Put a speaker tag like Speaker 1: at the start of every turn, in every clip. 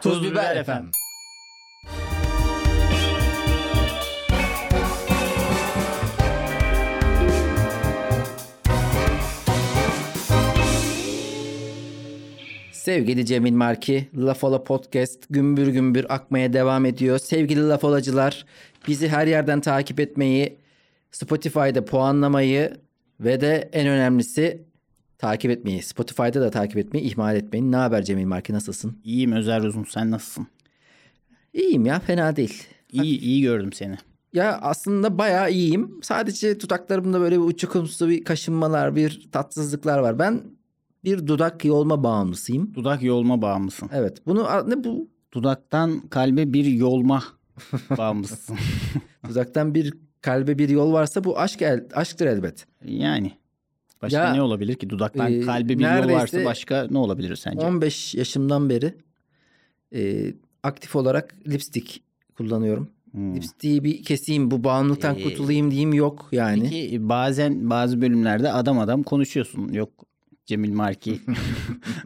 Speaker 1: Tuz Biber efendim. Sevgili Cemil Marki, Lafola Podcast gümbür gümbür akmaya devam ediyor. Sevgili Lafolacılar, bizi her yerden takip etmeyi, Spotify'da puanlamayı ve de en önemlisi takip etmeyi, Spotify'da da takip etmeyi ihmal etmeyin. Ne haber Cemil Marki, nasılsın?
Speaker 2: İyiyim Özer Uzun sen nasılsın?
Speaker 1: İyiyim ya, fena değil.
Speaker 2: İyi iyi gördüm seni.
Speaker 1: Ya aslında bayağı iyiyim. Sadece dudaklarımda böyle bir uçukumsu bir kaşınmalar, bir tatsızlıklar var. Ben bir dudak yolma bağımlısıyım.
Speaker 2: Dudak yolma bağımlısın.
Speaker 1: Evet. Bunu ne bu
Speaker 2: Dudaktan kalbe bir yolma bağımlısın.
Speaker 1: Dudaktan bir kalbe bir yol varsa bu aşk el, aşktır elbet.
Speaker 2: Yani. Başka
Speaker 1: Ya,
Speaker 2: ne olabilir ki? Dudaktan
Speaker 1: e,
Speaker 2: kalbe bir yol
Speaker 1: neredeyse-
Speaker 2: varsa başka ne olabilir sence?
Speaker 1: 15 yaşımdan beri e, aktif olarak lipstik kullanıyorum.
Speaker 2: Hmm.
Speaker 1: Lipstiği bir keseyim bu bağımlılıktan
Speaker 2: Ee,
Speaker 1: kurtulayım diyeyim yok yani.
Speaker 2: Peki bazen bazı bölümlerde adam adam konuşuyorsun. Yok Cemil Marki.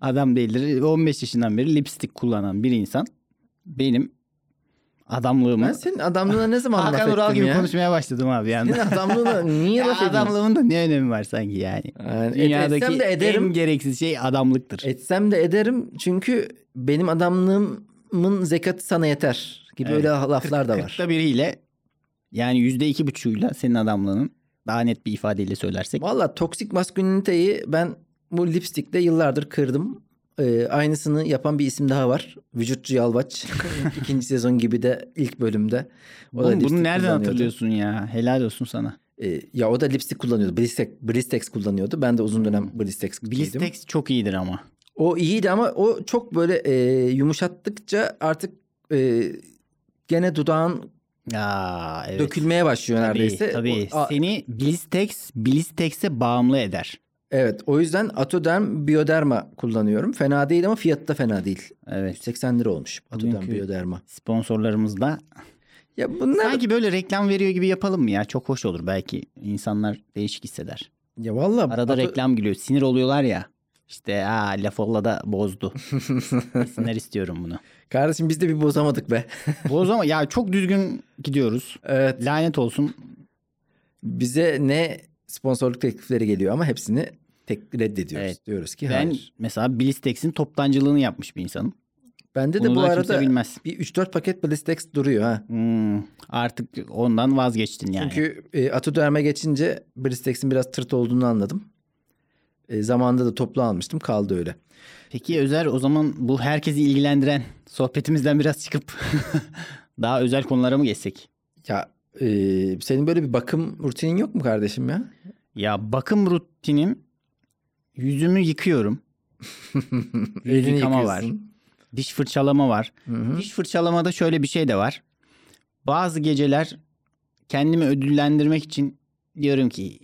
Speaker 2: adam değildir. 15 yaşından beri lipstik kullanan bir insan. Benim adamlığımı...
Speaker 1: Ben senin adamlığına ne zaman laf
Speaker 2: Hakan
Speaker 1: ettim
Speaker 2: Ural gibi
Speaker 1: ya?
Speaker 2: konuşmaya başladım abi yani.
Speaker 1: Senin adamlığına niye
Speaker 2: Ya
Speaker 1: laf ediyorsun?
Speaker 2: adamlığın da ne önemi var sanki yani.
Speaker 1: Yani et-
Speaker 2: Dünyadaki
Speaker 1: etsem de ederim.
Speaker 2: en gereksiz şey adamlıktır.
Speaker 1: Etsem de ederim çünkü benim adamlığımın zekatı sana yeter gibi
Speaker 2: Evet.
Speaker 1: öyle laflar da var.
Speaker 2: Kırkta biriyle yani yüzde iki buçuğuyla senin adamlığının daha net bir ifadeyle söylersek.
Speaker 1: Valla toksik masküliniteyi ben bu lipstikle yıllardır kırdım. Ee, aynısını yapan bir isim daha var. Vücutçu Yalvaç. İkinci sezon gibi de ilk bölümde. O da
Speaker 2: Oğlum,
Speaker 1: lipstik
Speaker 2: bunu nereden
Speaker 1: kullanıyordu.
Speaker 2: hatırlıyorsun ya? Helal olsun sana.
Speaker 1: Ee, ya o da lipstik kullanıyordu. Blistex, Blistex kullanıyordu. Ben de uzun dönem Blistex giydim.
Speaker 2: Blistex çok iyidir ama.
Speaker 1: O iyiydi ama o çok böyle e, yumuşattıkça artık e, gene dudağın
Speaker 2: Aa, evet.
Speaker 1: dökülmeye başlıyor
Speaker 2: Tabii,
Speaker 1: neredeyse.
Speaker 2: tabii.
Speaker 1: O- a-
Speaker 2: Seni Blistex, Blistex'e bağımlı eder.
Speaker 1: evet o yüzden Atoderm Bioderma kullanıyorum. Fena değil ama fiyatı da fena değil.
Speaker 2: Evet.
Speaker 1: 180 lira olmuş Atoderm
Speaker 2: Bugünkü-
Speaker 1: Bioderma.
Speaker 2: Sponsorlarımız da
Speaker 1: Ya bunlar
Speaker 2: sanki böyle reklam veriyor gibi yapalım mı ya? Çok hoş olur belki. insanlar değişik hisseder.
Speaker 1: ya vallahi
Speaker 2: Arada
Speaker 1: Ato-
Speaker 2: reklam geliyor. Sinir oluyorlar ya. İşte aa Lafolla da bozdu. Sinir istiyorum bunu.
Speaker 1: Kardeşim biz de bir bozamadık be.
Speaker 2: Boz ama ya çok düzgün gidiyoruz.
Speaker 1: Evet.
Speaker 2: Lanet olsun.
Speaker 1: Bize ne sponsorluk teklifleri geliyor ama hepsini tek reddediyoruz.
Speaker 2: Evet.
Speaker 1: Diyoruz ki
Speaker 2: ben
Speaker 1: hayır.
Speaker 2: mesela Blistex'in toptancılığını yapmış bir insanım.
Speaker 1: Bende de
Speaker 2: Bunu
Speaker 1: bu
Speaker 2: da kimse
Speaker 1: arada
Speaker 2: bilmez.
Speaker 1: bir 3-4 paket Blistex duruyor ha.
Speaker 2: Hmm, artık ondan vazgeçtin yani.
Speaker 1: Çünkü e, Atoderm'e geçince Bristex'in biraz tırt olduğunu anladım. E, zamanında da toplu almıştım kaldı öyle.
Speaker 2: Peki Özer o zaman bu herkesi ilgilendiren sohbetimizden biraz çıkıp daha özel konulara mı geçsek?
Speaker 1: Ya e, senin böyle bir bakım rutinin yok mu kardeşim ya?
Speaker 2: Ya bakım rutinim yüzümü yıkıyorum. Yüz
Speaker 1: Elini
Speaker 2: yıkama var.
Speaker 1: yıkıyorsun.
Speaker 2: Diş fırçalama var.
Speaker 1: Hı hı.
Speaker 2: Diş fırçalamada şöyle bir şey de var. Bazı geceler kendimi ödüllendirmek için diyorum ki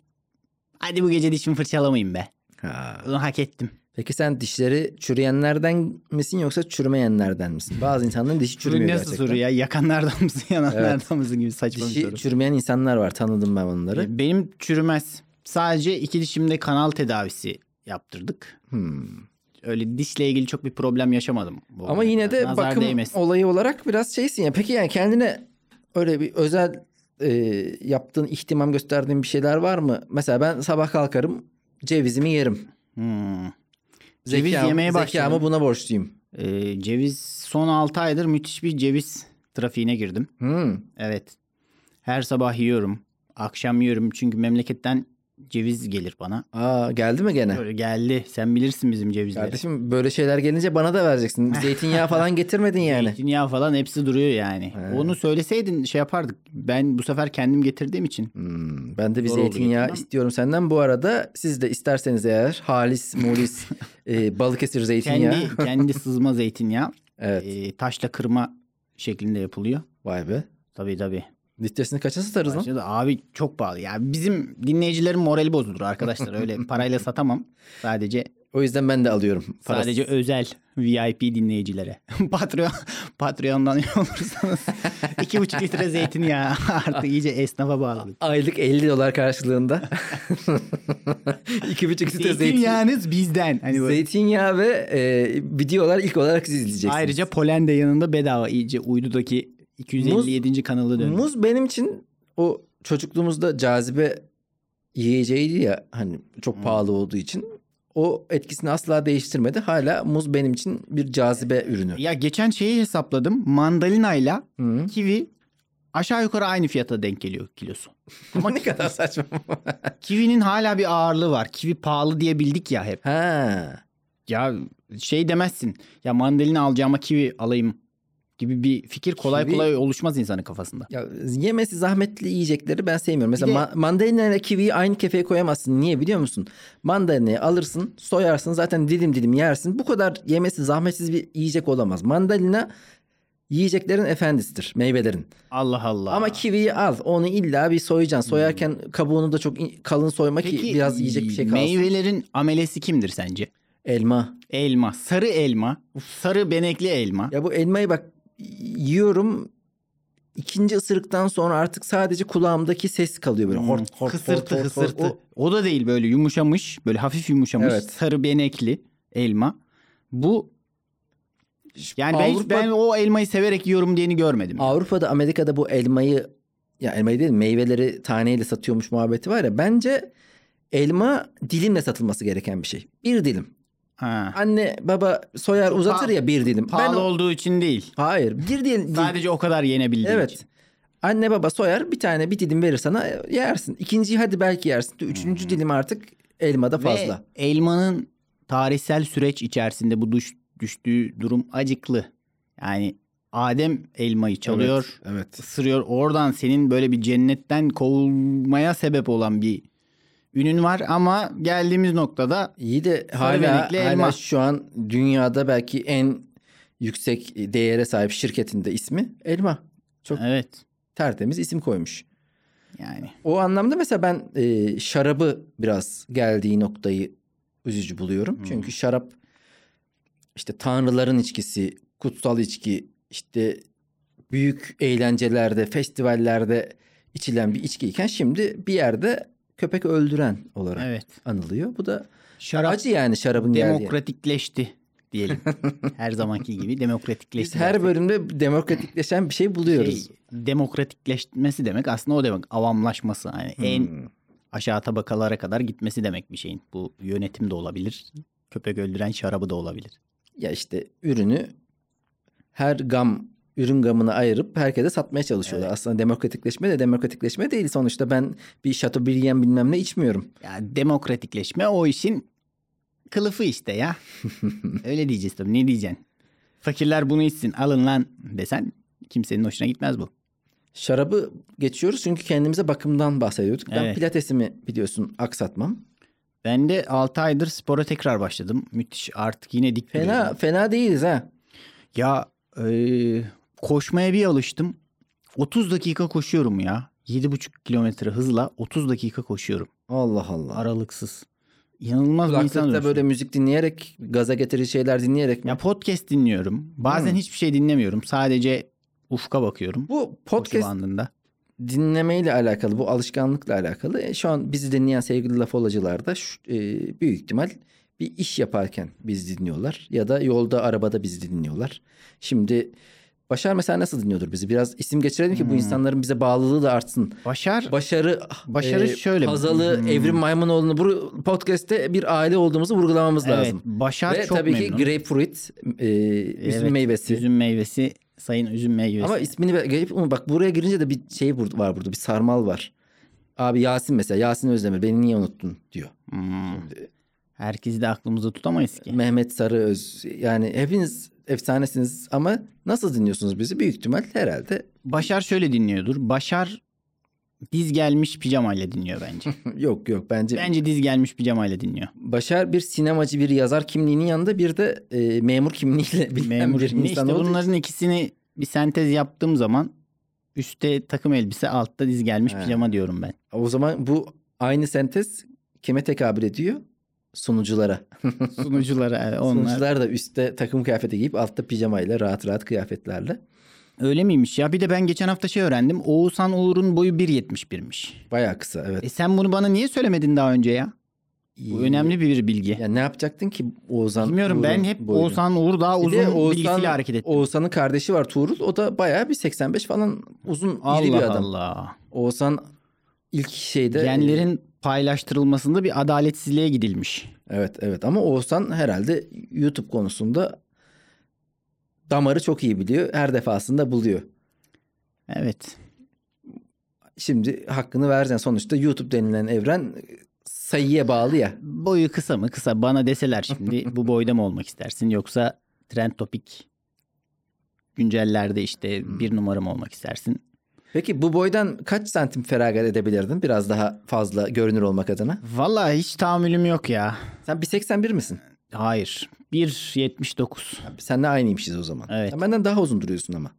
Speaker 2: hadi bu gece dişimi fırçalamayayım be.
Speaker 1: Ha.
Speaker 2: Bunu hak ettim.
Speaker 1: Peki sen dişleri çürüyenlerden misin yoksa çürümeyenlerden misin? Bazı insanların dişi
Speaker 2: Çürüyor
Speaker 1: çürümüyor
Speaker 2: nasıl
Speaker 1: gerçekten.
Speaker 2: soru ya? Yakanlardan mısın, yananlardan mısın gibi saçma bir
Speaker 1: Dişi
Speaker 2: soru. Ee,
Speaker 1: çürümeyen insanlar var tanıdım ben onları.
Speaker 2: Benim çürümez. Sadece iki dişimde kanal tedavisi yaptırdık.
Speaker 1: Hmm.
Speaker 2: Öyle dişle ilgili çok bir problem yaşamadım. bu
Speaker 1: Ama yine de
Speaker 2: Nazar
Speaker 1: bakım
Speaker 2: değmesin.
Speaker 1: olayı olarak biraz şeysin ya. Peki yani kendine öyle bir özel e, yaptığın, ihtimam gösterdiğin bir şeyler var mı? Mesela ben sabah kalkarım, cevizimi yerim.
Speaker 2: Hmm. Ceviz yemeye başladım.
Speaker 1: Zekamı buna borçluyum.
Speaker 2: Ee, ceviz son 6 aydır müthiş bir ceviz trafiğine girdim.
Speaker 1: Hmm.
Speaker 2: Evet. Her sabah yiyorum. Akşam yiyorum çünkü memleketten ceviz gelir bana.
Speaker 1: Aa geldi mi gene?
Speaker 2: Böyle geldi. Sen bilirsin bizim cevizleri.
Speaker 1: Kardeşim böyle şeyler gelince bana da vereceksin. Zeytinyağı falan getirmedin yani.
Speaker 2: Zeytinyağı falan hepsi duruyor yani.
Speaker 1: He.
Speaker 2: Onu söyleseydin şey yapardık. Ben bu sefer kendim getirdiğim için.
Speaker 1: Hmm, ben de bir
Speaker 2: Zor oldu
Speaker 1: zeytinyağı
Speaker 2: getirmem.
Speaker 1: istiyorum senden. Bu arada siz de isterseniz eğer halis, mulis, e, balıkesir zeytinyağı.
Speaker 2: Kendi kendi sızma zeytinyağı.
Speaker 1: Evet.
Speaker 2: Ee, taşla kırma şeklinde yapılıyor.
Speaker 1: Vay be.
Speaker 2: Tabii tabii.
Speaker 1: Litresini kaça satarız lan?
Speaker 2: Ayrıca da abi çok pahalı. Ya bizim dinleyicilerin morali bozulur arkadaşlar. Öyle parayla satamam. Sadece
Speaker 1: O yüzden ben de alıyorum. Parası.
Speaker 2: Sadece özel VIP dinleyicilere. Patreon, Patreon'dan üye olursanız 2,5 litre zeytinyağı artık iyice esnafa bağladık.
Speaker 1: aylık 50 dolar karşılığında. 2,5 litre zeytin.
Speaker 2: Zeytinyağınız bizden. Hani böyle.
Speaker 1: Zeytinyağı ve e, videolar ilk olarak siz izleyeceksiniz.
Speaker 2: Ayrıca polen de yanında bedava iyice uydudaki 257. kanala döndü.
Speaker 1: muz benim için o çocukluğumuzda cazibe yiyeceğiydi ya hani çok pahalı olduğu için o etkisini asla değiştirmedi. Hala muz benim için bir cazibe ürünü.
Speaker 2: Ya geçen şeyi hesapladım. Mandalinayla
Speaker 1: Hı.
Speaker 2: kivi aşağı yukarı aynı fiyata denk geliyor kilosu.
Speaker 1: Ama ne kadar saçma.
Speaker 2: Kivinin hala bir ağırlığı var. Kivi pahalı diye bildik ya hep.
Speaker 1: ha.
Speaker 2: Ya şey demezsin. Ya mandalina alacağıma kivi alayım gibi bir fikir kolay
Speaker 1: Kivi-
Speaker 2: kolay oluşmaz insanın kafasında.
Speaker 1: Ya yemesi zahmetli yiyecekleri ben sevmiyorum. Mesela
Speaker 2: de-
Speaker 1: ma- mandalina ile kiviyi aynı kefeye koyamazsın. Niye biliyor musun? Mandalinayı alırsın, soyarsın, zaten dilim dilim yersin. Bu kadar yemesi zahmetsiz bir yiyecek olamaz. Mandalina yiyeceklerin efendisidir, meyvelerin.
Speaker 2: Allah Allah.
Speaker 1: Ama kiviyi al. Onu illa bir
Speaker 2: Hmm.
Speaker 1: soyacaksın. Soyarken kabuğunu da çok in- kalın soyma ki biraz yiyecek bir şey kalsın.
Speaker 2: Meyvelerin amelesi kimdir sence?
Speaker 1: Elma.
Speaker 2: Elma, sarı elma, sarı benekli elma.
Speaker 1: Ya bu elmayı bak yiyorum. İkinci ısırıktan sonra artık sadece kulağımdaki ses kalıyor böyle.
Speaker 2: Hmm,
Speaker 1: Hort hort hort,
Speaker 2: kısırtı
Speaker 1: hort, hort.
Speaker 2: kısırtı.
Speaker 1: O-
Speaker 2: O da değil böyle yumuşamış, böyle hafif yumuşamış,
Speaker 1: Evet.
Speaker 2: sarı benekli elma. Bu yani ben, hiç-
Speaker 1: Avrupa-
Speaker 2: ben o elmayı severek yiyorum diyeni görmedim.
Speaker 1: Avrupa'da Amerika'da bu elmayı ya elmayı değil meyveleri taneyle satıyormuş muhabbeti var ya bence elma dilimle satılması gereken bir şey. Bir dilim.
Speaker 2: Ha.
Speaker 1: Anne baba soyar uzatır ya bir dilim.
Speaker 2: Pahalı
Speaker 1: ben o-
Speaker 2: olduğu için değil.
Speaker 1: Hayır. Bir dilim.
Speaker 2: Sadece o kadar yenebildiği
Speaker 1: Evet.
Speaker 2: için.
Speaker 1: Anne baba soyar bir tane bir dilim verir sana e, yersin. İkinciyi hadi belki yersin. Üçüncü dilim artık elmada fazla.
Speaker 2: Ve elmanın tarihsel süreç içerisinde bu düş- düştüğü durum acıklı. Yani Adem elmayı çalıyor.
Speaker 1: Evet.
Speaker 2: ısırıyor. Oradan senin böyle bir cennetten kovulmaya sebep olan bir ünün var ama geldiğimiz noktada
Speaker 1: İyi de hala,
Speaker 2: benekli elma.
Speaker 1: hala şu an dünyada belki en yüksek değere sahip şirketin de ismi elma. Çok
Speaker 2: evet
Speaker 1: tertemiz isim koymuş.
Speaker 2: yani
Speaker 1: O anlamda mesela ben e, şarabı biraz geldiği noktayı üzücü buluyorum.
Speaker 2: Hmm.
Speaker 1: Çünkü şarap işte tanrıların içkisi, kutsal içki, işte büyük eğlencelerde, festivallerde içilen bir içkiyken şimdi bir yerde köpek öldüren olarak
Speaker 2: evet.
Speaker 1: anılıyor. Bu da
Speaker 2: Şarap
Speaker 1: acı yani şarabın geldiği.
Speaker 2: demokratikleşti diyelim. her zamanki gibi
Speaker 1: Biz
Speaker 2: demokratikleşti.
Speaker 1: her
Speaker 2: artık.
Speaker 1: bölümde demokratikleşen bir şey buluyoruz.
Speaker 2: Şey, demokratikleşmesi demek aslında o demek avamlaşması yani Şey, en
Speaker 1: Hmm.
Speaker 2: aşağı tabakalara kadar gitmesi demek bir şeyin. Bu yönetim de olabilir. Köpek öldüren şarabı da olabilir.
Speaker 1: Ya işte ürünü her gam ürün gamını ayırıp herkese satmaya çalışıyorlar. Aslında demokratikleşme de demokratikleşme değil. Sonuçta ben bir Chateaubriand bilmem ne içmiyorum.
Speaker 2: Yani demokratikleşme o işin kılıfı işte ya. Öyle diyeceğiz tabii ne diyeceksin? Fakirler bunu içsin alın lan desen kimsenin hoşuna gitmez bu.
Speaker 1: Şarabı geçiyoruz çünkü kendimize bakımdan bahsediyorduk. Ben
Speaker 2: Evet.
Speaker 1: pilatesimi biliyorsun aksatmam.
Speaker 2: Ben de 6 aydır spora tekrar başladım. Müthiş artık yine dik
Speaker 1: Fena
Speaker 2: duruyorum.
Speaker 1: fena değiliz ha.
Speaker 2: Ya eee, koşmaya bir alıştım. 30 dakika koşuyorum ya. 7,5 kilometre hızla 30 dakika koşuyorum.
Speaker 1: Allah Allah.
Speaker 2: Aralıksız. İnanılmaz bir insan
Speaker 1: Kulaklıkta
Speaker 2: dönüşüm.
Speaker 1: böyle müzik dinleyerek, gaza getirici şeyler dinleyerek mi?
Speaker 2: Ya podcast dinliyorum. Bazen
Speaker 1: Hmm.
Speaker 2: hiçbir şey dinlemiyorum. Sadece ufka bakıyorum.
Speaker 1: Bu
Speaker 2: Podcast
Speaker 1: podcast
Speaker 2: bandında.
Speaker 1: dinlemeyle alakalı, bu alışkanlıkla alakalı. E, Şu an bizi dinleyen sevgili lafolacılar da şu- e, büyük ihtimal bir iş yaparken bizi dinliyorlar. Ya da yolda, arabada bizi dinliyorlar. Şimdi Başar mesela nasıl dinliyordur bizi? Biraz isim geçirelim ki bu
Speaker 2: Hmm.
Speaker 1: insanların bize bağlılığı da artsın.
Speaker 2: Başar
Speaker 1: Başarı,
Speaker 2: Başarı şöyle.
Speaker 1: Pazalı,
Speaker 2: Hmm.
Speaker 1: e, Evrim Maymunoğlu'nu bu podcast'te bir aile olduğumuzu vurgulamamız
Speaker 2: evet,
Speaker 1: lazım.
Speaker 2: Başar
Speaker 1: Ve
Speaker 2: çok
Speaker 1: tabii
Speaker 2: memnun.
Speaker 1: ki grapefruit, e, üzüm
Speaker 2: Evet,
Speaker 1: meyvesi.
Speaker 2: Üzüm meyvesi. Sayın üzüm meyvesi.
Speaker 1: Ama ismini ver- gelip Ama bak buraya girince de bir şey bur- var burada bir sarmal var. Abi Yasin mesela Yasin Özdemir beni niye unuttun diyor.
Speaker 2: Hmm. Herkesi de aklımızda tutamayız ki.
Speaker 1: Mehmet Sarıöz yani hepiniz efsanesiniz ama nasıl dinliyorsunuz bizi? Büyük ihtimal herhalde
Speaker 2: Başar şöyle dinliyordur. Başar diz gelmiş pijamayla dinliyor bence.
Speaker 1: yok yok bence,
Speaker 2: bence diz gelmiş pijamayla dinliyor.
Speaker 1: Başar bir sinemacı bir yazar kimliğinin yanında bir de e, memur kimliğiyle bilinen
Speaker 2: Memur
Speaker 1: bir
Speaker 2: kimliği.
Speaker 1: insan
Speaker 2: İşte
Speaker 1: olduğu
Speaker 2: bunların ikisini bir sentez yaptığım zaman üstte takım elbise altta diz gelmiş
Speaker 1: He.
Speaker 2: pijama diyorum ben.
Speaker 1: için. O zaman bu aynı sentez kime tekabül ediyor? sunuculara.
Speaker 2: Sunuculara evet, onlar.
Speaker 1: Sunucular da üstte takım kıyafeti giyip altta pijamayla rahat rahat kıyafetlerle.
Speaker 2: Öyle miymiş ya? Bir de ben geçen hafta şey öğrendim. Oğuzhan Uğur'un boyu 1.71'miş.
Speaker 1: Bayağı kısa evet.
Speaker 2: E sen bunu bana niye söylemedin daha önce ya? Bu önemli bir bilgi.
Speaker 1: Ya ne yapacaktın ki Oğuzhan?
Speaker 2: Bilmiyorum ben
Speaker 1: Uğur'un
Speaker 2: hep
Speaker 1: boyunu?
Speaker 2: Oğuzhan Uğur daha
Speaker 1: Bir de
Speaker 2: uzun bilgisiyle hareket ettim.
Speaker 1: Oğuzhan'ın kardeşi var Tuğrul. O da bayağı bir 85 falan uzun
Speaker 2: Allah
Speaker 1: iri bir adam. e,
Speaker 2: Allah.
Speaker 1: Oğuzhan ilk şeyde...
Speaker 2: Genlerin paylaştırılmasında bir adaletsizliğe gidilmiş.
Speaker 1: Evet evet ama Oğuzhan herhalde YouTube konusunda damarı çok iyi biliyor. Her defasında buluyor.
Speaker 2: Evet.
Speaker 1: Şimdi hakkını vereceksin. Sonuçta YouTube denilen evren sayıya bağlı ya.
Speaker 2: Boyu kısa mı kısa bana deseler şimdi bu boyda mı olmak istersin yoksa trend topik güncellerde işte bir numara mı olmak istersin?
Speaker 1: Peki bu boydan kaç santim feragat edebilirdin biraz daha fazla görünür olmak adına?
Speaker 2: Vallahi hiç tahammülüm yok ya.
Speaker 1: Sen 1.81 misin?
Speaker 2: Hayır. 1.79.
Speaker 1: Senle aynıymışız o zaman.
Speaker 2: Evet.
Speaker 1: Sen benden daha uzun duruyorsun ama.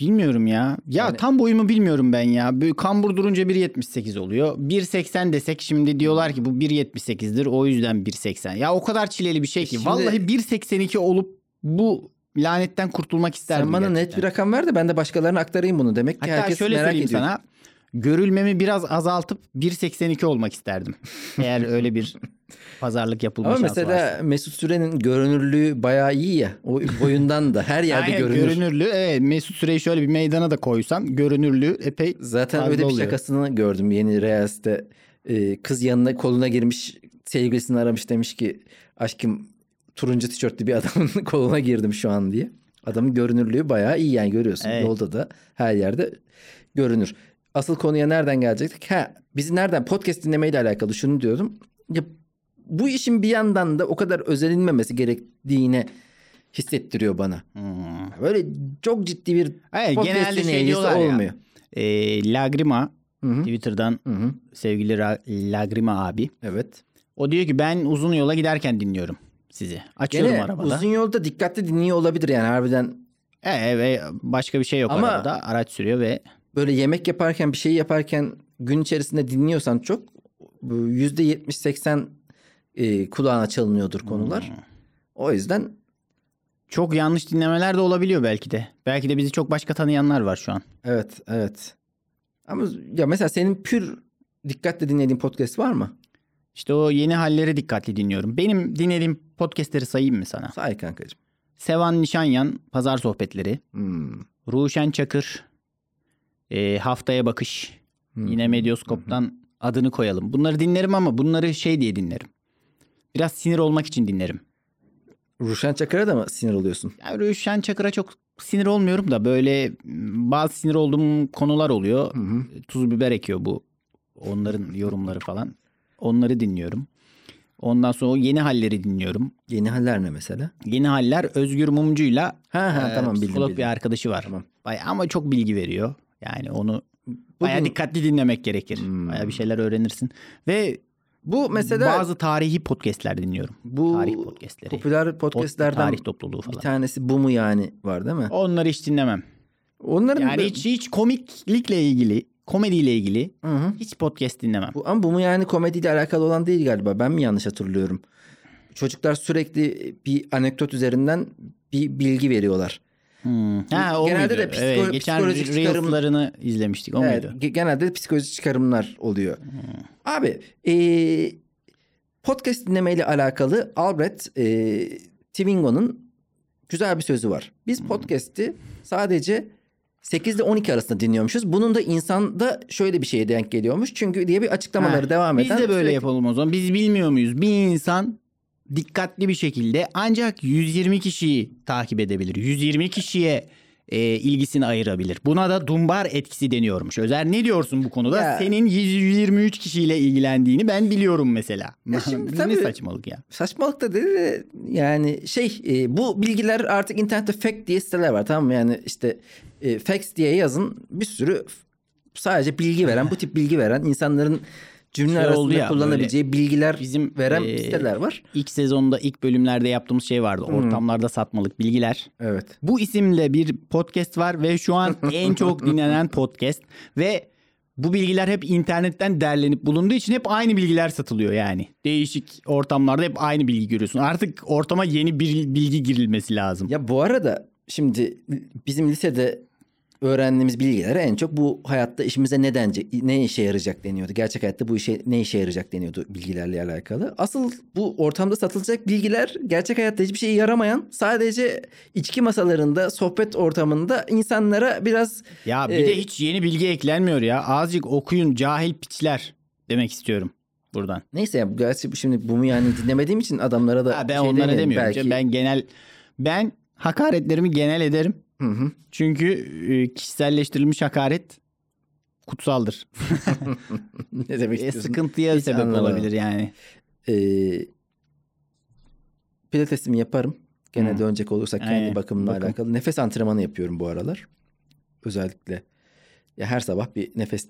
Speaker 2: Bilmiyorum ya. Ya
Speaker 1: Yani-
Speaker 2: tam boyumu bilmiyorum ben ya. Böyle kambur durunca 1.78 oluyor. 1.80 desek şimdi diyorlar ki bu 1.78'dir. O yüzden 1.80. Ya o kadar çileli bir şey ki.
Speaker 1: Şimdi-
Speaker 2: Vallahi 1.82 olup bu lanetten kurtulmak isterdim.
Speaker 1: Sen bana net
Speaker 2: gerçekten.
Speaker 1: bir rakam ver de ben de başkalarına aktarayım bunu. Demek ki
Speaker 2: Hatta
Speaker 1: herkes
Speaker 2: şöyle
Speaker 1: merak
Speaker 2: söyleyeyim
Speaker 1: ediyor.
Speaker 2: sana. Görülmemi biraz azaltıp 1.82 olmak isterdim. Eğer öyle bir pazarlık yapılma
Speaker 1: Ama
Speaker 2: şansı
Speaker 1: mesela
Speaker 2: varsa.
Speaker 1: Mesut Süren'in görünürlüğü bayağı iyi ya. O boyundan da her yerde
Speaker 2: Aynen,
Speaker 1: görünür.
Speaker 2: görünürlüğü. Evet, Mesut Süre'yi şöyle bir meydana da koysan görünürlüğü epey
Speaker 1: Zaten
Speaker 2: Fazla
Speaker 1: öyle bir
Speaker 2: oluyor.
Speaker 1: şakasını gördüm yeni Reels'te. Ee, kız yanına koluna girmiş sevgilisini aramış demiş ki aşkım turuncu tişörtlü bir adamın koluna girdim şu an diye. Adamın görünürlüğü bayağı iyi yani görüyorsun.
Speaker 2: Evet.
Speaker 1: Yolda da her yerde görünür. Asıl konuya nereden gelecektik? Ha, bizi nereden podcast dinlemeyle alakalı şunu diyordum. Ya, bu işin bir yandan da o kadar özelinmemesi gerektiğine hissettiriyor bana.
Speaker 2: Hmm.
Speaker 1: Böyle çok ciddi bir
Speaker 2: Hayır,
Speaker 1: podcast
Speaker 2: genelde şey
Speaker 1: dinleyicisi
Speaker 2: diyorlar ya.
Speaker 1: olmuyor.
Speaker 2: E, Lagrima
Speaker 1: Hı hı.
Speaker 2: Twitter'dan
Speaker 1: Hı hı.
Speaker 2: sevgili Ra- Lagrima abi.
Speaker 1: Evet.
Speaker 2: O diyor ki ben uzun yola giderken dinliyorum sizi. Açıyorum
Speaker 1: Gene
Speaker 2: arabada.
Speaker 1: uzun yolda dikkatli dinliyor olabilir yani harbiden.
Speaker 2: E, ve başka bir şey yok
Speaker 1: Ama-
Speaker 2: arabada. Araç sürüyor ve
Speaker 1: Böyle yemek yaparken bir şey yaparken gün içerisinde dinliyorsan çok bu yüzde yetmiş seksen e, kulağına çalınıyordur konular.
Speaker 2: Hmm.
Speaker 1: O yüzden
Speaker 2: çok yanlış dinlemeler de olabiliyor belki de. Belki de bizi çok başka tanıyanlar var şu an.
Speaker 1: evet evet. Ama ya mesela senin pür dikkatle dinlediğin podcast var mı?
Speaker 2: İşte o yeni halleri dikkatli dinliyorum. Benim dinlediğim podcastleri sayayım mı sana?
Speaker 1: Say kankacığım.
Speaker 2: Sevan Nişanyan, Pazar Sohbetleri.
Speaker 1: Hmm.
Speaker 2: Ruşen Çakır, e, Haftaya Bakış.
Speaker 1: Hı.
Speaker 2: Yine Medyoskop'tan adını koyalım. Bunları dinlerim ama bunları şey diye dinlerim. Biraz sinir olmak için dinlerim.
Speaker 1: Ruşen Çakır'a da mı sinir oluyorsun?
Speaker 2: Yani Ruşen Çakır'a çok sinir olmuyorum da böyle m, bazı sinir olduğum konular oluyor.
Speaker 1: Hı hı.
Speaker 2: Tuz biber ekiyor bu. Onların yorumları falan. Onları dinliyorum. Ondan sonra o yeni halleri dinliyorum.
Speaker 1: Yeni haller ne mesela?
Speaker 2: Yeni haller Özgür Mumcu'yla
Speaker 1: Ha ha
Speaker 2: e,
Speaker 1: tamam bildim.
Speaker 2: psikolog
Speaker 1: bildim.
Speaker 2: bir arkadaşı var.
Speaker 1: Tamam.
Speaker 2: Baya- ama çok bilgi veriyor. Yani onu Baya
Speaker 1: Bugün-
Speaker 2: dikkatli dinlemek gerekir.
Speaker 1: Hmm.
Speaker 2: Baya bir şeyler öğrenirsin. Ve
Speaker 1: Bu mesela
Speaker 2: bazı tarihi podcastler dinliyorum.
Speaker 1: bu
Speaker 2: tarih podcastleri.
Speaker 1: popüler podcastlerden
Speaker 2: Tarih topluluğu falan.
Speaker 1: Bir tanesi bu mu yani var değil mi?
Speaker 2: Onları hiç dinlemem.
Speaker 1: Onların
Speaker 2: Yani
Speaker 1: da-
Speaker 2: hiç, hiç komiklikle ilgili, komediyle ilgili
Speaker 1: Hı hı.
Speaker 2: hiç podcast dinlemem.
Speaker 1: Bu, ama bu mu yani komediyle alakalı olan değil galiba. Ben mi yanlış hatırlıyorum? Çocuklar sürekli bir anekdot üzerinden bir bilgi veriyorlar.
Speaker 2: Hmm. Ha, o
Speaker 1: Genelde
Speaker 2: muydu?
Speaker 1: de psikolo-
Speaker 2: evet, geçen
Speaker 1: psikolojik çıkarım-
Speaker 2: Reels'larını izlemiştik. O
Speaker 1: Evet,
Speaker 2: muydu? Hmm.
Speaker 1: ge- genelde de psikolojik çıkarımlar oluyor. Abi ee, podcast dinlemeyle alakalı Albert ee, Twingo'nun güzel bir sözü var. Biz
Speaker 2: Hmm.
Speaker 1: podcast'i sadece 8 ile 12 arasında dinliyormuşuz. Bunun da insanda şöyle bir şeye denk geliyormuş. Çünkü diye bir açıklamaları
Speaker 2: Ha,
Speaker 1: devam
Speaker 2: Biz
Speaker 1: eden.
Speaker 2: de böyle
Speaker 1: sürekli-
Speaker 2: yapalım o zaman. Biz bilmiyor muyuz? Bir insan dikkatli bir şekilde ancak 120 kişiyi takip edebilir. 120 kişiye e, ilgisini ayırabilir. Buna da dumbar etkisi deniyormuş. Özer ne diyorsun bu konuda?
Speaker 1: Ya-
Speaker 2: Senin 123 kişiyle ilgilendiğini ben biliyorum mesela.
Speaker 1: Ya şimdi
Speaker 2: ne
Speaker 1: tabii-
Speaker 2: saçmalık ya.
Speaker 1: Saçmalık da dedi de yani şey e, bu bilgiler artık internette fact diye siteler var tamam mı? Yani işte e, facts diye yazın bir sürü f- sadece bilgi veren bu tip bilgi veren insanların cümle
Speaker 2: Şey oldu
Speaker 1: arasında
Speaker 2: ya,
Speaker 1: kullanabileceği bilgiler
Speaker 2: Bizim
Speaker 1: veren
Speaker 2: e,
Speaker 1: siteler var. Hmm.
Speaker 2: ilk sezonda ilk bölümlerde yaptığımız şey vardı. Ortamlarda satmalık bilgiler.
Speaker 1: Evet.
Speaker 2: Bu isimle bir podcast var ve şu an en çok dinlenen podcast ve bu bilgiler hep internetten derlenip bulunduğu için hep aynı bilgiler satılıyor yani. Değişik ortamlarda hep aynı bilgi görüyorsun. Artık ortama yeni bir bilgi girilmesi lazım.
Speaker 1: Ya bu arada şimdi bizim lisede öğrendiğimiz bilgilere en çok bu hayatta işimize ne denecek, ne işe yarayacak deniyordu. Gerçek hayatta bu işe ne işe yarayacak deniyordu bilgilerle alakalı. Asıl bu ortamda satılacak bilgiler gerçek hayatta hiçbir şeye yaramayan sadece içki masalarında, sohbet ortamında insanlara biraz
Speaker 2: Ya bir
Speaker 1: Ee,
Speaker 2: de hiç yeni bilgi eklenmiyor ya. Azıcık okuyun cahil piçler demek istiyorum buradan.
Speaker 1: neyse ya gerçi şimdi bunu yani dinlemediğim için adamlara da
Speaker 2: Ha, ben
Speaker 1: şey
Speaker 2: onlara
Speaker 1: demeyelim
Speaker 2: demiyorum.
Speaker 1: belki.
Speaker 2: canım. Ben genel ben hakaretlerimi genel ederim.
Speaker 1: Hı hı.
Speaker 2: Çünkü e, kişiselleştirilmiş hakaret kutsaldır.
Speaker 1: ne demek
Speaker 2: E,
Speaker 1: istiyorsun?
Speaker 2: sıkıntıya
Speaker 1: Hiç
Speaker 2: sebep
Speaker 1: anlamadım.
Speaker 2: olabilir yani.
Speaker 1: Ee, pilatesimi yaparım. Gene
Speaker 2: Hı.
Speaker 1: dönecek olursak kendi
Speaker 2: Aynen,
Speaker 1: bakımımla
Speaker 2: bakım.
Speaker 1: alakalı. Nefes antrenmanı yapıyorum bu aralar. Özellikle ya her sabah bir nefes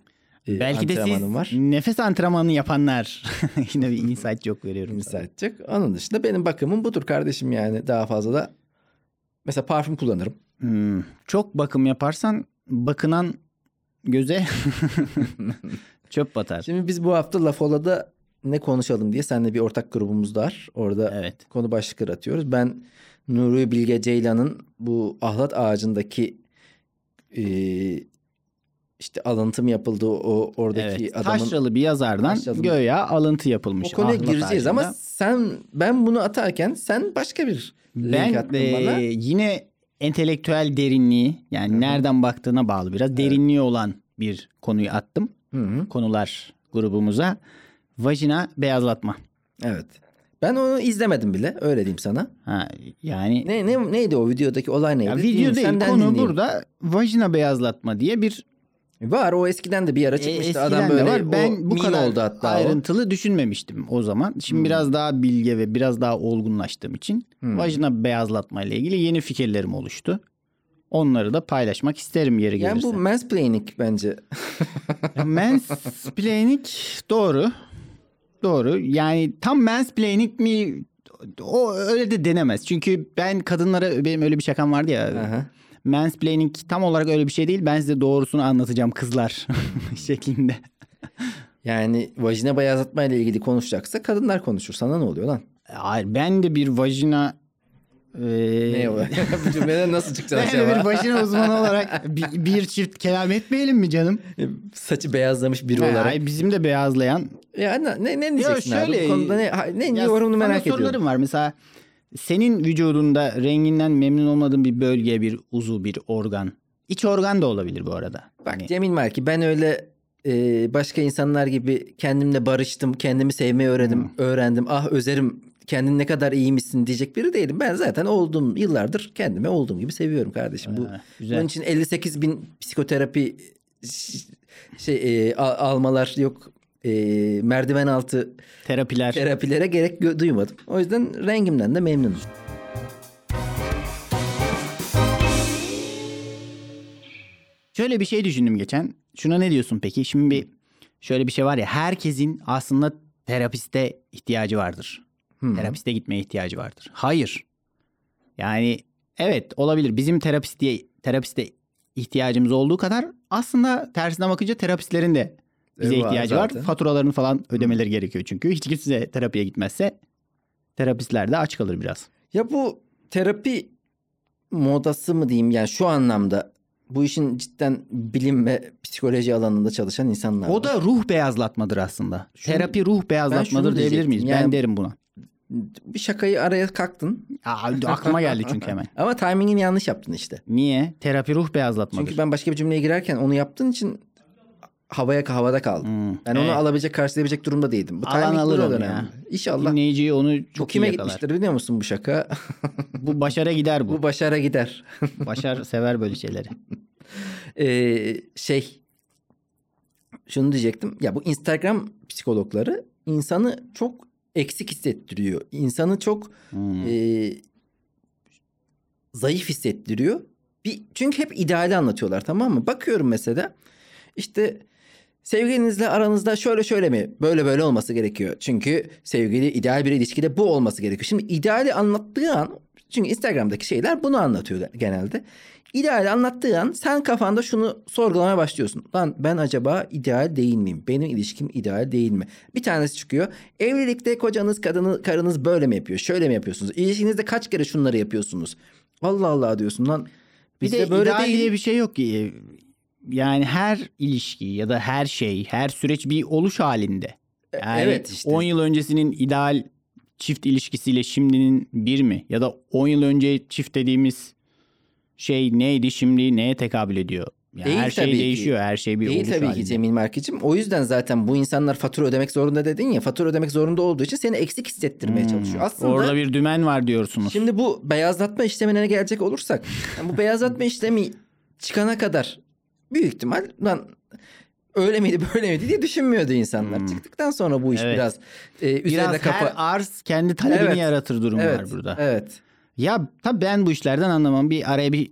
Speaker 1: e,
Speaker 2: Belki de siz
Speaker 1: antrenmanım var.
Speaker 2: nefes antrenmanı yapanlar yine bir insight yok veriyorum. sana.
Speaker 1: Misal edecek. Onun dışında benim bakımım budur kardeşim yani daha fazla da mesela parfüm kullanırım.
Speaker 2: Hmm, Çok bakım yaparsan bakınan göze çöp batar.
Speaker 1: Şimdi biz bu hafta La Fola'da ne konuşalım diye seninle bir ortak grubumuz var. Orada
Speaker 2: Evet.
Speaker 1: konu başlıkları atıyoruz. Ben Nuri Bilge Ceylan'ın bu ahlat ağacındaki e, işte alıntım yapıldığı o oradaki
Speaker 2: evet.
Speaker 1: adamın
Speaker 2: Taşralı bir yazardan
Speaker 1: Taşralı-
Speaker 2: göya alıntı
Speaker 1: o
Speaker 2: yapılmış.
Speaker 1: konuya
Speaker 2: Ahlat
Speaker 1: gireceğiz
Speaker 2: Ağacı'nda.
Speaker 1: ama sen ben bunu atarken sen başka bir link
Speaker 2: ben
Speaker 1: attın
Speaker 2: e,
Speaker 1: bana.
Speaker 2: yine entelektüel derinliği yani nereden baktığına bağlı biraz derinliği olan bir konuyu attım.
Speaker 1: Hı hı,
Speaker 2: Konular grubumuza vajina beyazlatma.
Speaker 1: evet. Ben onu izlemedim bile öyle diyeyim sana.
Speaker 2: Ha, yani
Speaker 1: Ne, ne neydi o videodaki olay neydi?
Speaker 2: Ya
Speaker 1: Dinleyeyim,
Speaker 2: video değil
Speaker 1: senden
Speaker 2: konu
Speaker 1: dinleyeyim. E,
Speaker 2: burada vajina beyazlatma diye bir
Speaker 1: Var o eskiden de bir ara
Speaker 2: e,
Speaker 1: çıkmıştı
Speaker 2: eskiden
Speaker 1: adam
Speaker 2: de
Speaker 1: böyle
Speaker 2: var. Ben bu kadar
Speaker 1: oldu hatta. o.
Speaker 2: ayrıntılı düşünmemiştim o zaman. Şimdi biraz daha bilge ve biraz daha olgunlaştığım için
Speaker 1: Hmm.
Speaker 2: vajina beyazlatma ile ilgili yeni fikirlerim oluştu. Onları da paylaşmak isterim yeri
Speaker 1: Yani
Speaker 2: gelirse.
Speaker 1: bu mansplaining bence.
Speaker 2: Ya mansplaining doğru. Doğru. Yani tam mansplaining mi o öyle de denemez. Çünkü ben kadınlara benim öyle bir şakam vardı ya.
Speaker 1: Aha.
Speaker 2: Mansplaining tam olarak öyle bir şey değil. Ben size doğrusunu anlatacağım kızlar şeklinde.
Speaker 1: Yani vajina beyazlatma ile ilgili konuşacaksa kadınlar konuşur. Sana ne oluyor lan?
Speaker 2: Hayır ben de bir vajina e,
Speaker 1: Ne o? Bu cümleden nasıl çıkacaksın
Speaker 2: ben de bir
Speaker 1: acaba?
Speaker 2: vajina uzmanı olarak bir, bir çift kelam etmeyelim mi canım?
Speaker 1: E, Saçı beyazlamış biri
Speaker 2: Ha,
Speaker 1: olarak.
Speaker 2: ay, bizim de beyazlayan
Speaker 1: Ya ne, ne, ne diyeceksin abi?
Speaker 2: şöyle-
Speaker 1: Bu konuda ne, ha- ne,
Speaker 2: Ya
Speaker 1: yorumunu
Speaker 2: sana
Speaker 1: merak ediyorum.
Speaker 2: sorularım var. Mesela senin vücudunda renginden memnun olmadığın bir bölge, bir uzu, bir organ. İç organ da olabilir bu arada.
Speaker 1: Bak
Speaker 2: Hani-
Speaker 1: Cemil Marki ben öyle e, başka insanlar gibi kendimle barıştım, kendimi sevmeyi öğrendim,
Speaker 2: Hmm.
Speaker 1: öğrendim. Ah özerim kendin ne kadar iyi misin diyecek biri değilim. Ben zaten olduğum yıllardır kendimi olduğum gibi seviyorum kardeşim. Bu
Speaker 2: Ha, güzel.
Speaker 1: Bunun için 58 bin psikoterapi ş- şey e, a- almalar yok e, merdiven altı
Speaker 2: Terapiler.
Speaker 1: terapilere gerek gö- duymadım. O yüzden rengimden de memnunum.
Speaker 2: Şöyle bir şey düşündüm geçen. Şuna ne diyorsun peki? Şimdi bir şöyle bir şey var ya herkesin aslında terapiste ihtiyacı vardır.
Speaker 1: Hı.
Speaker 2: Terapiste gitmeye ihtiyacı vardır. Hayır. Yani evet olabilir. Bizim terapist diye terapiste ihtiyacımız olduğu kadar aslında tersine bakınca terapistlerin de bize
Speaker 1: E, var
Speaker 2: ihtiyacı var.
Speaker 1: zaten.
Speaker 2: Faturalarını falan ödemeleri gerekiyor çünkü. Hiç kimse terapiye gitmezse terapistler de aç kalır biraz.
Speaker 1: Ya bu terapi modası mı diyeyim yani şu anlamda bu işin cidden bilim ve psikoloji alanında çalışan insanlar.
Speaker 2: O
Speaker 1: var.
Speaker 2: da ruh beyazlatmadır aslında.
Speaker 1: Şunu-
Speaker 2: Terapi ruh beyazlatmadır diyebilir
Speaker 1: diyecektim.
Speaker 2: miyiz?
Speaker 1: Yani-
Speaker 2: Ben derim buna.
Speaker 1: bir şakayı araya kaktın
Speaker 2: Aa, aklıma geldi çünkü hemen.
Speaker 1: ama timingini yanlış yaptın işte.
Speaker 2: Niye? Terapi ruh beyazlatmadır.
Speaker 1: Çünkü ben başka bir cümleye girerken onu yaptığın için havaya havada kaldım.
Speaker 2: Hmm.
Speaker 1: Ben onu
Speaker 2: Evet.
Speaker 1: alabilecek karşılayabilecek durumda değildim. Bu
Speaker 2: Alan
Speaker 1: timingler
Speaker 2: alır
Speaker 1: o
Speaker 2: onu
Speaker 1: dönem.
Speaker 2: ya.
Speaker 1: İnşallah.
Speaker 2: Dinleyiciyi onu
Speaker 1: Çok
Speaker 2: çok iyi
Speaker 1: kime
Speaker 2: yakalar.
Speaker 1: gitmiştir biliyor musun bu şaka?
Speaker 2: Bu başara gider bu.
Speaker 1: bu başara gider.
Speaker 2: Başar sever böyle şeyleri.
Speaker 1: Ee, şey şunu diyecektim. Ya bu Instagram psikologları insanı çok eksik hissettiriyor. İnsanı çok
Speaker 2: Hmm.
Speaker 1: e, zayıf hissettiriyor. Bir, çünkü hep ideali anlatıyorlar tamam mı? Bakıyorum mesela işte sevgilinizle aranızda şöyle şöyle mi böyle böyle olması gerekiyor. Çünkü sevgili ideal bir ilişkide bu olması gerekiyor. Şimdi ideali anlattığı an Çünkü Instagram'daki şeyler bunu anlatıyor genelde. İdeal anlattığı an sen kafanda şunu sorgulamaya başlıyorsun. Lan ben acaba ideal değil miyim? Benim ilişkim ideal değil mi? Bir tanesi çıkıyor. Evlilikte kocanız, kadını, karınız böyle mi yapıyor? Şöyle mi yapıyorsunuz? İlişkinizde kaç kere şunları yapıyorsunuz? Allah Allah diyorsun lan.
Speaker 2: Bir
Speaker 1: Bizde
Speaker 2: de
Speaker 1: böyle
Speaker 2: ideal
Speaker 1: değil.
Speaker 2: diye bir şey yok ki. Yani her ilişki ya da her şey, her süreç bir oluş halinde. Yani
Speaker 1: evet işte.
Speaker 2: 10 yıl öncesinin ideal çift ilişkisiyle şimdinin bir mi? Ya da 10 yıl önce çift dediğimiz şey neydi şimdi neye tekabül ediyor? Yani
Speaker 1: Değil
Speaker 2: her şey
Speaker 1: tabii ki.
Speaker 2: değişiyor, her şey bir
Speaker 1: Değil
Speaker 2: oluş
Speaker 1: tabii
Speaker 2: halinde.
Speaker 1: ki Cemil Markicim. O yüzden zaten bu insanlar fatura ödemek zorunda dedin ya. Fatura ödemek zorunda olduğu için seni eksik hissettirmeye
Speaker 2: Hmm,
Speaker 1: çalışıyor. Aslında
Speaker 2: Orada bir dümen var diyorsunuz.
Speaker 1: şimdi bu beyazlatma işlemine gelecek olursak. yani bu beyazlatma işlemi çıkana kadar büyük ihtimal lan öyle miydi böyle miydi diye düşünmüyordu insanlar.
Speaker 2: Hmm.
Speaker 1: Çıktıktan sonra bu iş
Speaker 2: Evet.
Speaker 1: biraz e, üzerine
Speaker 2: Biraz
Speaker 1: kafa...
Speaker 2: her arz kendi talebini
Speaker 1: Evet.
Speaker 2: yaratır durum
Speaker 1: evet,
Speaker 2: var burada.
Speaker 1: Evet.
Speaker 2: Ya tabii ben bu işlerden anlamam. Bir araya bir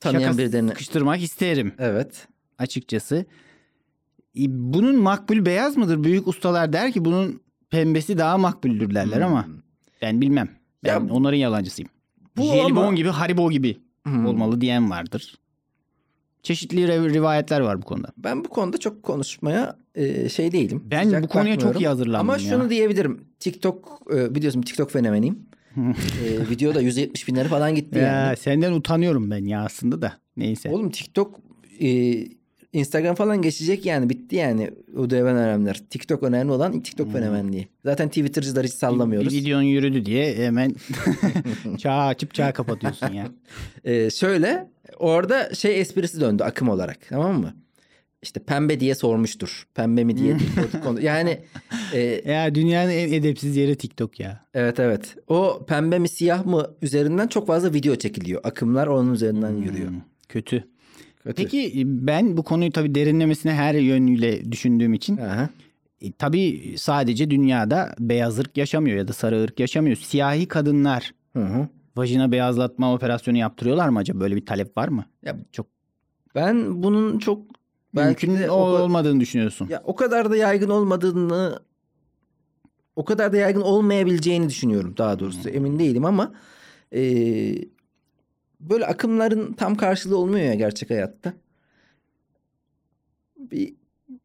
Speaker 1: Tanıyan
Speaker 2: şaka
Speaker 1: birilerini...
Speaker 2: sıkıştırmak isterim.
Speaker 1: Evet.
Speaker 2: açıkçası. E, Bunun makbul beyaz mıdır? Büyük ustalar der ki bunun pembesi daha makbuldür derler ama
Speaker 1: Hmm.
Speaker 2: ben bilmem. Ben
Speaker 1: Ya-
Speaker 2: onların yalancısıyım.
Speaker 1: Bu
Speaker 2: Jelibon
Speaker 1: ama-
Speaker 2: gibi haribo gibi
Speaker 1: Hmm.
Speaker 2: olmalı diyen vardır. Çeşitli re- rivayetler var bu konuda.
Speaker 1: Ben bu konuda çok konuşmaya e, şey değilim.
Speaker 2: Ben
Speaker 1: Sıcak
Speaker 2: bu konuya çok
Speaker 1: bakmıyorum.
Speaker 2: iyi hazırlandım
Speaker 1: Ama
Speaker 2: ya.
Speaker 1: şunu diyebilirim. TikTok e, biliyorsun TikTok fenomeniyim. e, videoda 170 binleri falan gitti yani.
Speaker 2: Ya, senden utanıyorum ben ya aslında da. Neyse.
Speaker 1: Oğlum TikTok e, Instagram falan geçecek yani bitti yani o dönem önemler. TikTok önemli olan TikTok fenomenliği. Zaten Twitter'cıları hiç sallamıyoruz.
Speaker 2: Hmm. Bir videon yürüdü diye hemen çağ açıp çağ kapatıyorsun ya.
Speaker 1: Ee, şöyle orada şey esprisi döndü akım olarak tamam mı? İşte pembe diye sormuştur. Pembe mi
Speaker 2: Hmm.
Speaker 1: diye. konu- yani e,
Speaker 2: Ya dünyanın en edepsiz yeri TikTok ya.
Speaker 1: Evet evet. O pembe mi siyah mı üzerinden çok fazla video çekiliyor. Akımlar onun üzerinden yürüyor.
Speaker 2: Hmm, Kötü.
Speaker 1: Kötü.
Speaker 2: Peki e, ben bu konuyu tabii derinlemesine her yönüyle düşündüğüm için
Speaker 1: Aha.
Speaker 2: e, tabii sadece dünyada beyaz ırk yaşamıyor ya da sarı ırk yaşamıyor. Siyahi kadınlar
Speaker 1: Hı hı.
Speaker 2: vajina beyazlatma operasyonu yaptırıyorlar mı acaba? Böyle bir talep var mı?
Speaker 1: Ya
Speaker 2: çok
Speaker 1: Ben bunun çok belki
Speaker 2: mümkün
Speaker 1: de
Speaker 2: ol-
Speaker 1: o,
Speaker 2: olmadığını düşünüyorsun.
Speaker 1: ya o kadar da yaygın olmadığını o kadar da yaygın olmayabileceğini düşünüyorum daha doğrusu. Emin değilim ama e, böyle akımların tam karşılığı olmuyor ya gerçek hayatta. Bir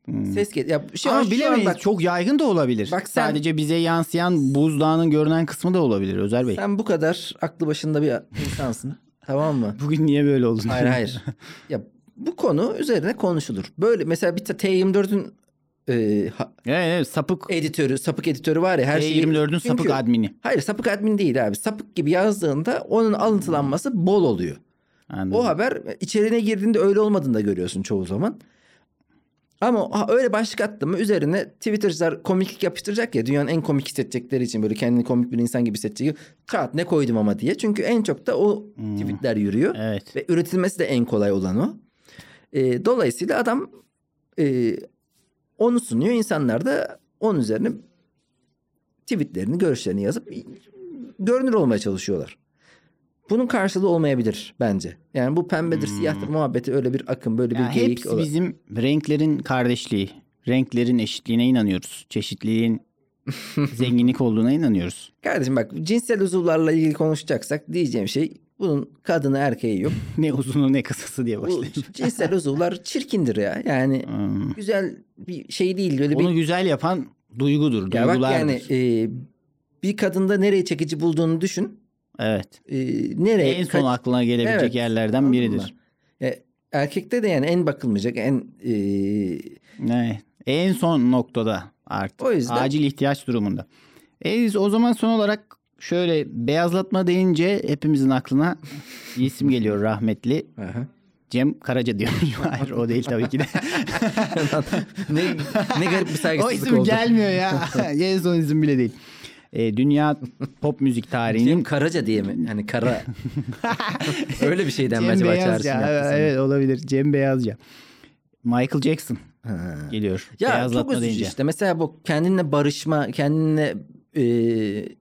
Speaker 2: Hmm.
Speaker 1: ses get ya şu an-
Speaker 2: Ama
Speaker 1: şey şu
Speaker 2: bilemeyiz.
Speaker 1: an bak,
Speaker 2: çok yaygın da olabilir.
Speaker 1: Bak sen-
Speaker 2: Sadece bize yansıyan buzdağının görünen kısmı da olabilir Özer Bey.
Speaker 1: sen bu kadar aklı başında bir insansın. tamam mı?
Speaker 2: Bugün niye böyle oldun?
Speaker 1: Hayır hayır. ya bu konu üzerine konuşulur. Böyle mesela bir ta- T24'ün e, ha-
Speaker 2: evet, evet, sapık.
Speaker 1: editörü, sapık editörü var ya E, her şeyi.
Speaker 2: 24'ün
Speaker 1: Çünkü-
Speaker 2: sapık admini.
Speaker 1: Hayır sapık admin değil abi. Sapık gibi yazdığında onun alıntılanması bol oluyor.
Speaker 2: Anladım.
Speaker 1: O haber içeriğine girdiğinde öyle olmadığını da görüyorsun çoğu zaman. Ama ha- öyle başlık attın mı üzerine Twitter'cılar komiklik yapıştıracak ya dünyanın en komik hissedecekleri için böyle kendini komik bir insan gibi hissedecek gibi kağıt ne koydum ama diye. Çünkü en çok da o
Speaker 2: Hmm.
Speaker 1: tweetler yürüyor.
Speaker 2: Evet.
Speaker 1: Ve üretilmesi de en kolay olan o. Ee, dolayısıyla adam e, onu sunuyor. İnsanlar da onun üzerine tweetlerini, görüşlerini yazıp görünür olmaya çalışıyorlar. Bunun karşılığı olmayabilir bence. Yani bu pembedir, siyahtır muhabbeti öyle bir akım, böyle
Speaker 2: Hmm. Ya
Speaker 1: bir geyik.
Speaker 2: hepsi
Speaker 1: olan-
Speaker 2: bizim renklerin kardeşliği, renklerin eşitliğine inanıyoruz. Çeşitliliğin zenginlik olduğuna inanıyoruz.
Speaker 1: Kardeşim bak cinsel uzuvlarla ilgili konuşacaksak diyeceğim şey bunun kadını erkeği yok.
Speaker 2: Ne uzunu ne kısası diye
Speaker 1: Bu
Speaker 2: başlayayım.
Speaker 1: cinsel uzuvlar çirkindir ya. Yani
Speaker 2: Hmm.
Speaker 1: güzel bir şey değil. Böyle bir
Speaker 2: Onu güzel yapan duygudur,
Speaker 1: Ya bak
Speaker 2: duygulardır.
Speaker 1: yani e, bir kadında nereye çekici bulduğunu düşün.
Speaker 2: evet.
Speaker 1: E, nereye
Speaker 2: En son
Speaker 1: kaç-
Speaker 2: aklına gelebilecek
Speaker 1: Evet, anladın
Speaker 2: yerlerden
Speaker 1: mı?
Speaker 2: biridir.
Speaker 1: E, erkekte de yani en bakılmayacak en e,
Speaker 2: Evet. En son noktada artık.
Speaker 1: O yüzden-
Speaker 2: Acil ihtiyaç durumunda. E, o zaman son olarak şöyle beyazlatma deyince hepimizin aklına bir isim geliyor rahmetli. Cem Karaca diyor. Hayır o değil tabii ki de.
Speaker 1: ne ne garip bir
Speaker 2: o
Speaker 1: saygısızlık
Speaker 2: isim
Speaker 1: oldu.
Speaker 2: gelmiyor ya. en son isim bile değil. E, dünya pop müzik
Speaker 1: Cem
Speaker 2: tarihinin
Speaker 1: Karaca diye mi? Hani kara. Öyle bir şeyden mi
Speaker 2: Cem
Speaker 1: acaba çağrısını
Speaker 2: Beyazca.
Speaker 1: yaptı
Speaker 2: Evet,
Speaker 1: sana?
Speaker 2: evet, olabilir. Cem Beyazca. Michael Jackson
Speaker 1: Ha.
Speaker 2: geliyor.
Speaker 1: Ya çok
Speaker 2: Beyazlatma
Speaker 1: üzücü
Speaker 2: deyince.
Speaker 1: işte. Mesela bu kendinle barışma, kendinle e,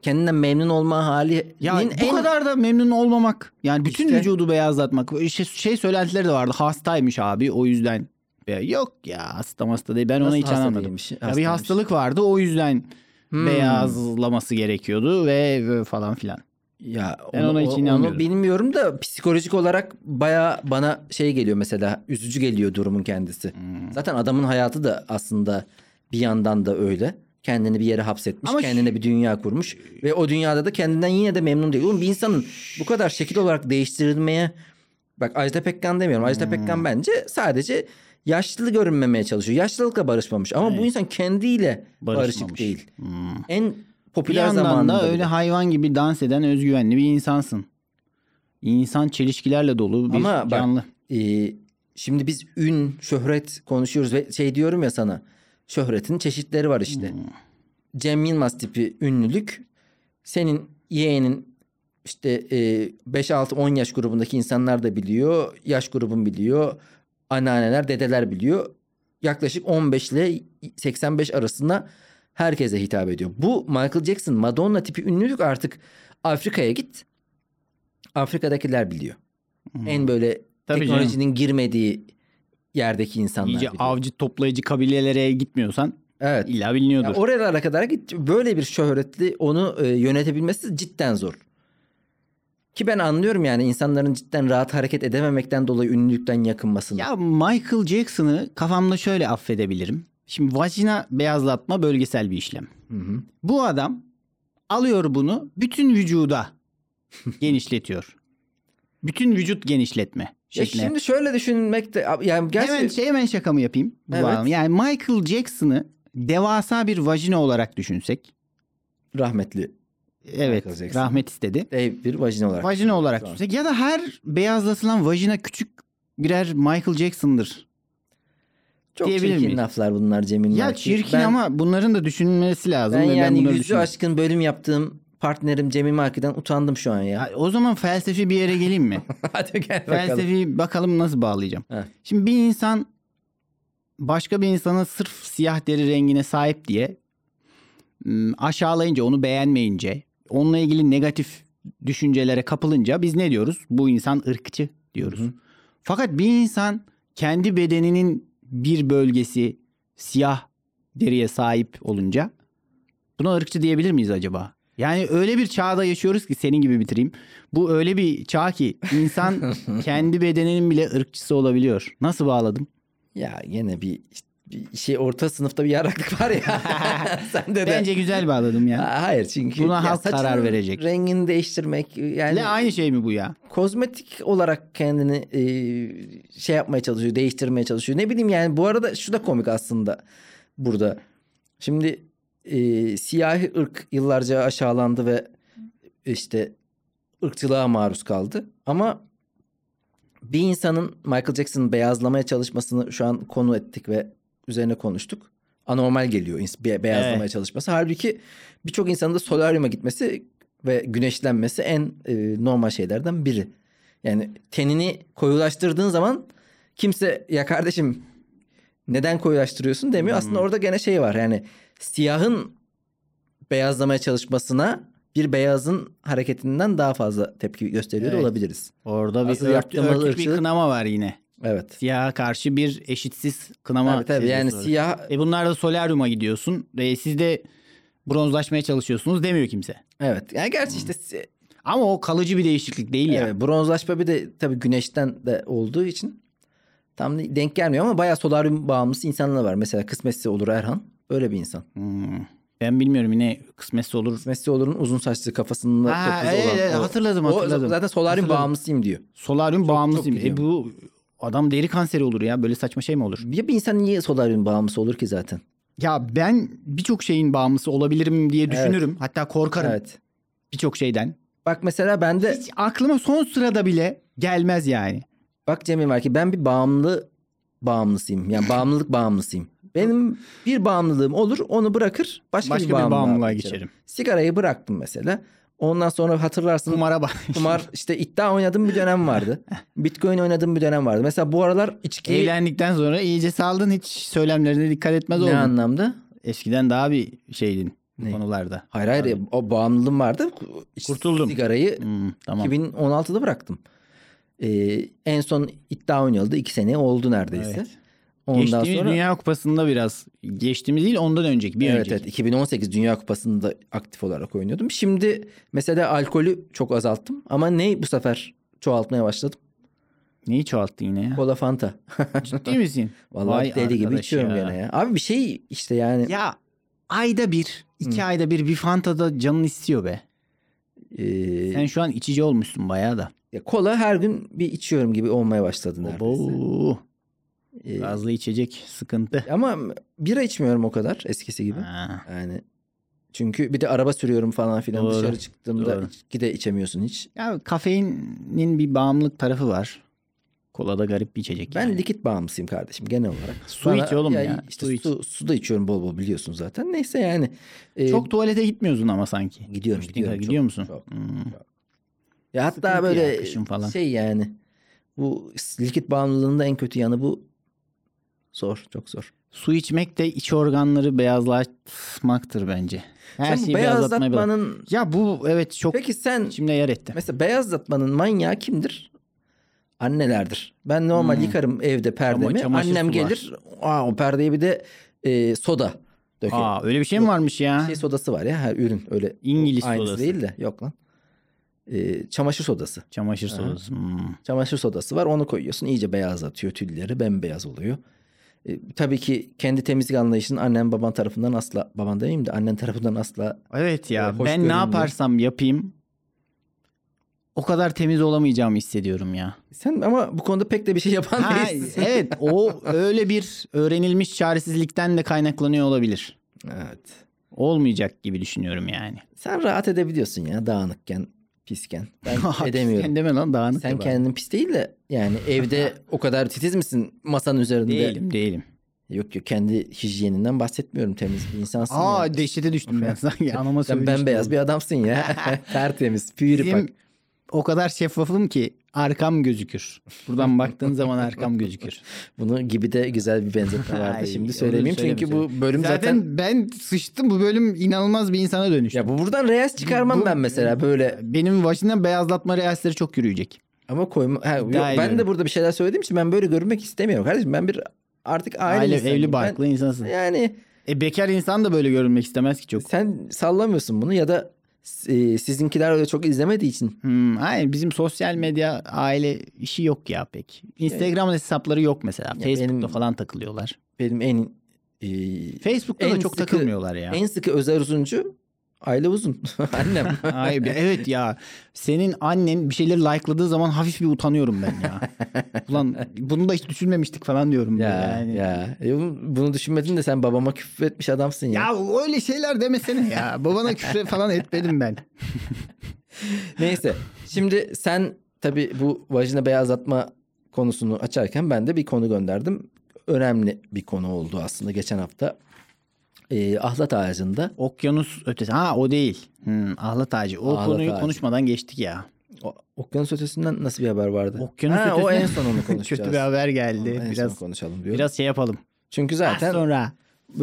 Speaker 1: kendinden memnun olma hali.
Speaker 2: Ya
Speaker 1: Nin
Speaker 2: bu
Speaker 1: en-
Speaker 2: kadar da memnun olmamak. Yani bütün
Speaker 1: İşte.
Speaker 2: vücudu beyazlatmak. Şey, şey söylentileri de vardı. Hastaymış abi o yüzden. Ya Yok ya hasta hasta değil. Ben ona
Speaker 1: Nasıl
Speaker 2: hiç
Speaker 1: hasta
Speaker 2: anlamadım.
Speaker 1: değilmiş,
Speaker 2: Ya bir
Speaker 1: hastaymış?
Speaker 2: hastalık vardı o yüzden
Speaker 1: Hmm.
Speaker 2: beyazlaması gerekiyordu ve, ve falan filan.
Speaker 1: Ya
Speaker 2: Ben
Speaker 1: onu,
Speaker 2: ona hiç
Speaker 1: o-
Speaker 2: inanmıyorum.
Speaker 1: onu bilmiyorum da psikolojik olarak baya bana şey geliyor mesela üzücü geliyor durumun kendisi.
Speaker 2: Hmm.
Speaker 1: Zaten adamın hayatı da aslında bir yandan da öyle. Kendini bir yere hapsetmiş,
Speaker 2: Ama şu-
Speaker 1: kendine bir dünya kurmuş ve o dünyada da kendinden yine de memnun değil. Oğlum bir insanın bu kadar şekil olarak değiştirilmeye bak Ajda Pekkan demiyorum. Ajda
Speaker 2: Hmm.
Speaker 1: Pekkan bence sadece yaşlı görünmemeye çalışıyor. Yaşlılıkla barışmamış ama bu insan kendiyle barışık
Speaker 2: Barışmamış.
Speaker 1: değil.
Speaker 2: Hmm.
Speaker 1: En
Speaker 2: Bir
Speaker 1: popüler
Speaker 2: yandan
Speaker 1: zamanında
Speaker 2: da
Speaker 1: bile.
Speaker 2: öyle hayvan gibi dans eden özgüvenli bir insansın. İnsan çelişkilerle dolu bir
Speaker 1: Ama bak-
Speaker 2: canlı.
Speaker 1: Ee, şimdi biz ün, şöhret konuşuyoruz ve şey diyorum ya sana. Şöhretin çeşitleri var işte.
Speaker 2: Hmm.
Speaker 1: Cem Yılmaz tipi ünlülük. Senin yeğenin işte e, 5-6-10 yaş grubundaki insanlar da biliyor. Yaş grubun biliyor. Anneanneler, dedeler biliyor. Yaklaşık 15 ile 85 arasında herkese hitap ediyor. Bu Michael Jackson, Madonna tipi ünlülük artık Afrika'ya git. Afrika'dakiler biliyor. En böyle
Speaker 2: Hmm. Tabii
Speaker 1: teknolojinin girmediği yerdeki insanlar.
Speaker 2: İyice
Speaker 1: biliyor.
Speaker 2: avcı toplayıcı kabilelere gitmiyorsan
Speaker 1: evet.
Speaker 2: illa
Speaker 1: Ya
Speaker 2: biliniyordur.
Speaker 1: oralara kadar git böyle bir şöhretli onu e, yönetebilmesi cidden zor. Ki ben anlıyorum yani insanların cidden rahat hareket edememekten dolayı ünlülükten yakınmasını.
Speaker 2: Ya Michael Jackson'ı kafamda şöyle affedebilirim. Şimdi vajina beyazlatma bölgesel bir işlem.
Speaker 1: Hı hı.
Speaker 2: Bu adam alıyor bunu bütün vücuda genişletiyor. Bütün vücut genişletme
Speaker 1: Ya
Speaker 2: şekline.
Speaker 1: şimdi şöyle düşünmek de yani gerçi
Speaker 2: Hemen, şey, hemen şakamı yapayım. bu
Speaker 1: Evet.
Speaker 2: adam. Yani Michael Jackson'ı devasa bir vajina olarak düşünsek.
Speaker 1: rahmetli
Speaker 2: Evet
Speaker 1: Michael Jackson.
Speaker 2: rahmet istedi.
Speaker 1: dev bir vajina olarak.
Speaker 2: Vajina olarak
Speaker 1: Şu an.
Speaker 2: düşünsek. Ya da her beyazlatılan vajina küçük birer Michael Jackson'dır.
Speaker 1: Çok
Speaker 2: diyebilir
Speaker 1: çirkin
Speaker 2: miyim?
Speaker 1: laflar bunlar Cemil.
Speaker 2: Ya
Speaker 1: Marki.
Speaker 2: çirkin
Speaker 1: Ben-
Speaker 2: ama bunların da düşünülmesi lazım.
Speaker 1: ben
Speaker 2: ve
Speaker 1: yani
Speaker 2: bunları
Speaker 1: yüzü
Speaker 2: düşünüyorum.
Speaker 1: aşkın bölüm yaptığım partnerim Cemil Marki'den utandım şu an ya.
Speaker 2: Ya O zaman felsefi bir yere geleyim mi?
Speaker 1: Hadi gel bakalım.
Speaker 2: Felsefi bakalım nasıl bağlayacağım.
Speaker 1: Evet.
Speaker 2: Şimdi bir insan başka bir insana sırf siyah deri rengine sahip diye m, aşağılayınca, onu beğenmeyince, onunla ilgili negatif düşüncelere kapılınca biz ne diyoruz? Bu insan ırkçı diyoruz.
Speaker 1: Hı hı.
Speaker 2: Fakat bir insan kendi bedeninin bir bölgesi siyah deriye sahip olunca buna ırkçı diyebilir miyiz acaba? Yani öyle bir çağda yaşıyoruz ki senin gibi bitireyim. Bu öyle bir çağ ki insan kendi bedeninin bile ırkçısı olabiliyor. Nasıl bağladım?
Speaker 1: Ya yine bir, bir şey orta sınıfta bir yaraklık var ya. Sen de
Speaker 2: Bence güzel bağladım ya.
Speaker 1: Ha, Hayır çünkü
Speaker 2: Buna
Speaker 1: ya
Speaker 2: halk
Speaker 1: saçının
Speaker 2: karar verecek.
Speaker 1: Rengini değiştirmek e, yani
Speaker 2: Ne aynı şey mi bu ya?
Speaker 1: kozmetik olarak kendini e, şey yapmaya çalışıyor, değiştirmeye çalışıyor. Ne bileyim yani bu arada şu da komik aslında burada. Şimdi e, siyahi ırk yıllarca aşağılandı ve işte ırkçılığa maruz kaldı. Ama bir insanın Michael Jackson'ın beyazlamaya çalışmasını şu an konu ettik ve üzerine konuştuk. Anormal geliyor ins- be- beyazlamaya
Speaker 2: Evet.
Speaker 1: çalışması. Halbuki birçok insanın da solaryuma gitmesi ve güneşlenmesi en e, normal şeylerden biri. Yani tenini koyulaştırdığın zaman kimse ya kardeşim neden koyulaştırıyorsun demiyor. Aslında orada gene şey var yani siyahın beyazlamaya çalışmasına bir beyazın hareketinden daha fazla tepki gösteriyor da
Speaker 2: Evet.
Speaker 1: olabiliriz.
Speaker 2: Orada bir
Speaker 1: Asıl
Speaker 2: ört,
Speaker 1: yaptığımız
Speaker 2: örtük bir
Speaker 1: ırkçılık-
Speaker 2: kınama var yine.
Speaker 1: Evet.
Speaker 2: Siyaha karşı bir eşitsiz kınama.
Speaker 1: Tabii tabii yani
Speaker 2: serisi var.
Speaker 1: siyah
Speaker 2: E bunlar da solaryuma gidiyorsun. E siz de bronzlaşmaya çalışıyorsunuz demiyor kimse.
Speaker 1: evet. Yani gerçi işte si-
Speaker 2: Ama o kalıcı bir değişiklik değil ya.
Speaker 1: evet, bronzlaşma bir de tabii güneşten de olduğu için tam da denk gelmiyor ama bayağı solaryum bağımlısı insanlar var. Mesela kısmetse olur Erhan. Öyle bir insan.
Speaker 2: Hmm. Ben bilmiyorum yine kısmetse olur.
Speaker 1: Kısmetse olur'un uzun saçlı kafasında
Speaker 2: Ha,
Speaker 1: topuzu
Speaker 2: evet,
Speaker 1: olan.
Speaker 2: evet, hatırladım,
Speaker 1: o
Speaker 2: hatırladım.
Speaker 1: zaten solaryum
Speaker 2: Hatırladım.
Speaker 1: bağımlısıyım diyor.
Speaker 2: Solaryum bağımlısıyım.
Speaker 1: çok
Speaker 2: e bu adam deri kanseri olur ya. Böyle saçma şey mi olur?
Speaker 1: Ya bir insan niye solaryum bağımlısı olur ki zaten?
Speaker 2: Ya ben birçok şeyin bağımlısı olabilirim diye düşünürüm. Hatta korkarım
Speaker 1: Evet.
Speaker 2: birçok şeyden.
Speaker 1: Bak mesela ben de
Speaker 2: Hiç aklıma son sırada bile gelmez yani.
Speaker 1: Bak Cemil var ki ben bir bağımlı bağımlısıyım. Yani bağımlılık bağımlısıyım. Benim bir bağımlılığım olur onu bırakır başka,
Speaker 2: Başka
Speaker 1: bir
Speaker 2: bir
Speaker 1: bağımlılığa,
Speaker 2: bağımlılığa
Speaker 1: geçerim.
Speaker 2: geçerim.
Speaker 1: Sigarayı bıraktım mesela. Ondan sonra hatırlarsın kumar,
Speaker 2: Kumara bak.
Speaker 1: işte iddia oynadığım bir dönem vardı. Bitcoin oynadığım bir dönem vardı. Mesela bu aralar içki
Speaker 2: Eğlendikten sonra iyice saldın hiç söylemlerine dikkat
Speaker 1: ne
Speaker 2: etmez oldun.
Speaker 1: anlamda?
Speaker 2: Eskiden daha bir şeydin bu
Speaker 1: Ne?
Speaker 2: konularda.
Speaker 1: Hayır hayır o bağımlılığım vardı.
Speaker 2: Kurtuldum.
Speaker 1: Sigarayı
Speaker 2: Hmm, tamam.
Speaker 1: 2016'da bıraktım. Ee, en son iddia oynayalı da iki sene oldu neredeyse.
Speaker 2: Evet.
Speaker 1: Ondan
Speaker 2: geçtiğimiz
Speaker 1: sonra
Speaker 2: Dünya Kupası'nda biraz geçtiğimiz değil ondan önceki bir
Speaker 1: evet,
Speaker 2: önceki.
Speaker 1: evet 2018 Dünya Kupası'nda aktif olarak oynuyordum. Şimdi mesela alkolü çok azalttım ama ne bu sefer çoğaltmaya başladım?
Speaker 2: Neyi çoğalttın yine ya?
Speaker 1: Cola Fanta.
Speaker 2: Ciddi misin?
Speaker 1: Vallahi
Speaker 2: Vay
Speaker 1: deli gibi
Speaker 2: arkadaş
Speaker 1: içiyorum
Speaker 2: ya.
Speaker 1: gene ya. Abi bir şey işte yani
Speaker 2: Ya ayda bir, iki ayda bir bir Fanta'da canın istiyor be.
Speaker 1: e,
Speaker 2: Sen şu an içici olmuşsun bayağı da.
Speaker 1: ya kola her gün bir içiyorum gibi olmaya başladı neredeyse.
Speaker 2: Obo.
Speaker 1: E,
Speaker 2: Gazlı içecek sıkıntı.
Speaker 1: ama bira içmiyorum o kadar eskisi gibi.
Speaker 2: Ha.
Speaker 1: Yani çünkü bir de araba sürüyorum falan filan
Speaker 2: Doğru,
Speaker 1: dışarı çıktığımda
Speaker 2: doğru.
Speaker 1: içki de içemiyorsun hiç.
Speaker 2: Ya kafeinin bir bağımlılık tarafı var. Kolada garip bir içecek.
Speaker 1: Ben
Speaker 2: yani.
Speaker 1: likit bağımlısıyım kardeşim genel olarak.
Speaker 2: Su iç oğlum ya,
Speaker 1: Işte
Speaker 2: su
Speaker 1: su,
Speaker 2: iç.
Speaker 1: su, da içiyorum bol bol biliyorsun zaten. Neyse yani. e,
Speaker 2: Çok tuvalete gitmiyorsun ama sanki.
Speaker 1: gidiyorum
Speaker 2: Hoştinka,
Speaker 1: gidiyorum.
Speaker 2: Ee, gidiyor
Speaker 1: çok,
Speaker 2: musun?
Speaker 1: çok. Ya
Speaker 2: Hmm. Sıkıntı ya
Speaker 1: hatta böyle
Speaker 2: kışın falan.
Speaker 1: şey yani. Bu likit bağımlılığının da en kötü yanı bu. Zor çok zor.
Speaker 2: Su içmek de iç organları beyazlatmaktır bence. Her
Speaker 1: Sen bu
Speaker 2: şeyi beyazlatmaya bak.
Speaker 1: beyazlatmanın...
Speaker 2: Ya bu evet çok
Speaker 1: Peki sen
Speaker 2: içimde yer etti.
Speaker 1: mesela beyazlatmanın manyağı kimdir? Annelerdir. Ben normal
Speaker 2: Hmm.
Speaker 1: yıkarım evde perdemi.
Speaker 2: çamaşır
Speaker 1: Annem
Speaker 2: su var.
Speaker 1: gelir. Aa, o perdeye bir de e, soda döker.
Speaker 2: Aa öyle bir şey mi varmış ya?
Speaker 1: şey sodası var ya her ürün öyle.
Speaker 2: İngiliz
Speaker 1: aynısı
Speaker 2: sodası.
Speaker 1: değil de yok lan. Ee, çamaşır sodası.
Speaker 2: Çamaşır
Speaker 1: Aha.
Speaker 2: sodası. Hmm.
Speaker 1: Çamaşır sodası var onu koyuyorsun iyice beyazlatıyor tülleri bembeyaz oluyor. Ee, tabii ki kendi temizlik anlayışının annen baban tarafından asla baban demeyeyim de annen tarafından asla
Speaker 2: Evet ya
Speaker 1: Böyle hoş
Speaker 2: ben ne
Speaker 1: görünümlü.
Speaker 2: yaparsam yapayım o kadar temiz olamayacağımı hissediyorum ya.
Speaker 1: sen ama bu konuda pek de bir şey yapan
Speaker 2: Ha,
Speaker 1: değilsin.
Speaker 2: evet o öyle bir öğrenilmiş çaresizlikten de kaynaklanıyor olabilir.
Speaker 1: Evet.
Speaker 2: Olmayacak gibi düşünüyorum yani.
Speaker 1: Sen rahat edebiliyorsun ya dağınıkken pisken. Ben edemiyorum.
Speaker 2: Sen deme lan dağınık
Speaker 1: Sen
Speaker 2: da ben.
Speaker 1: kendin pis değil de yani evde o kadar titiz misin masanın üzerinde?
Speaker 2: Değilim değilim.
Speaker 1: Yok yok kendi hijyeninden bahsetmiyorum temiz bir insansın.
Speaker 2: Aa
Speaker 1: ya.
Speaker 2: dehşete düştüm ben sanki anama
Speaker 1: Sen bembeyaz bir adamsın ya. Tertemiz, püri bak.
Speaker 2: Bizim o kadar şeffafım ki arkam gözükür. Buradan baktığın zaman arkam gözükür.
Speaker 1: Bunu gibi de güzel bir benzetme vardı.
Speaker 2: Ay,
Speaker 1: Şimdi
Speaker 2: onu
Speaker 1: söylemeyeyim
Speaker 2: söyleme,
Speaker 1: çünkü bu
Speaker 2: söyleme.
Speaker 1: bölüm
Speaker 2: Zaten,
Speaker 1: zaten...
Speaker 2: ben sıçtım bu bölüm inanılmaz bir insana dönüştü.
Speaker 1: Ya bu buradan reels çıkarmam
Speaker 2: Bu-
Speaker 1: ben mesela böyle.
Speaker 2: Benim başına beyazlatma reelsleri çok yürüyecek.
Speaker 1: Ama koyma... Ha, yok, ben de
Speaker 2: ediyorum.
Speaker 1: burada bir şeyler söylediğim için ben böyle görünmek istemiyorum kardeşim. Ben bir artık aile,
Speaker 2: Aile,
Speaker 1: insanıyım.
Speaker 2: evli
Speaker 1: Ben-
Speaker 2: barklı insansın.
Speaker 1: Yani
Speaker 2: E bekar insan da böyle görünmek istemez ki çok.
Speaker 1: sen sallamıyorsun bunu ya da e, sizinkiler öyle çok izlemediği için.
Speaker 2: Hmm, hayır bizim sosyal medya aile işi yok ya pek. Instagram hesapları yok mesela. Facebook'ta
Speaker 1: benim-
Speaker 2: falan takılıyorlar.
Speaker 1: Benim en... e,
Speaker 2: Facebook'ta
Speaker 1: En
Speaker 2: da çok
Speaker 1: sıkı-
Speaker 2: takılmıyorlar ya.
Speaker 1: en sıkı özel uzuncu aile uzun. Annem.
Speaker 2: Ay, be- evet ya. Senin annen bir şeyleri like'ladığı zaman hafif bir utanıyorum ben ya. Ulan bunu da hiç düşünmemiştik falan diyorum. böyle
Speaker 1: Ya
Speaker 2: yani.
Speaker 1: ya. E, bu- Bunu düşünmedin de sen babama küfür etmiş adamsın ya.
Speaker 2: Ya öyle şeyler demesene ya. Babana küfür falan etmedim ben.
Speaker 1: Neyse. Şimdi sen tabii bu vajina beyazlatma konusunu açarken ben de bir konu gönderdim. Önemli bir konu oldu aslında geçen hafta. E, ahlat ağacında
Speaker 2: Okyanus ötesi. Ha o değil. Hmm, ahlat ağacı. O
Speaker 1: Ahlat
Speaker 2: konuyu
Speaker 1: ağacı.
Speaker 2: konuşmadan geçtik ya.
Speaker 1: o- okyanus ötesinden nasıl bir haber vardı?
Speaker 2: Okyanus
Speaker 1: ha, o
Speaker 2: ötesinden-
Speaker 1: en son onu konuşacağız.
Speaker 2: Kötü bir haber geldi.
Speaker 1: En son
Speaker 2: biraz
Speaker 1: konuşalım diyor.
Speaker 2: biraz şey yapalım.
Speaker 1: Çünkü
Speaker 2: Zaten
Speaker 1: zaten
Speaker 2: sonra.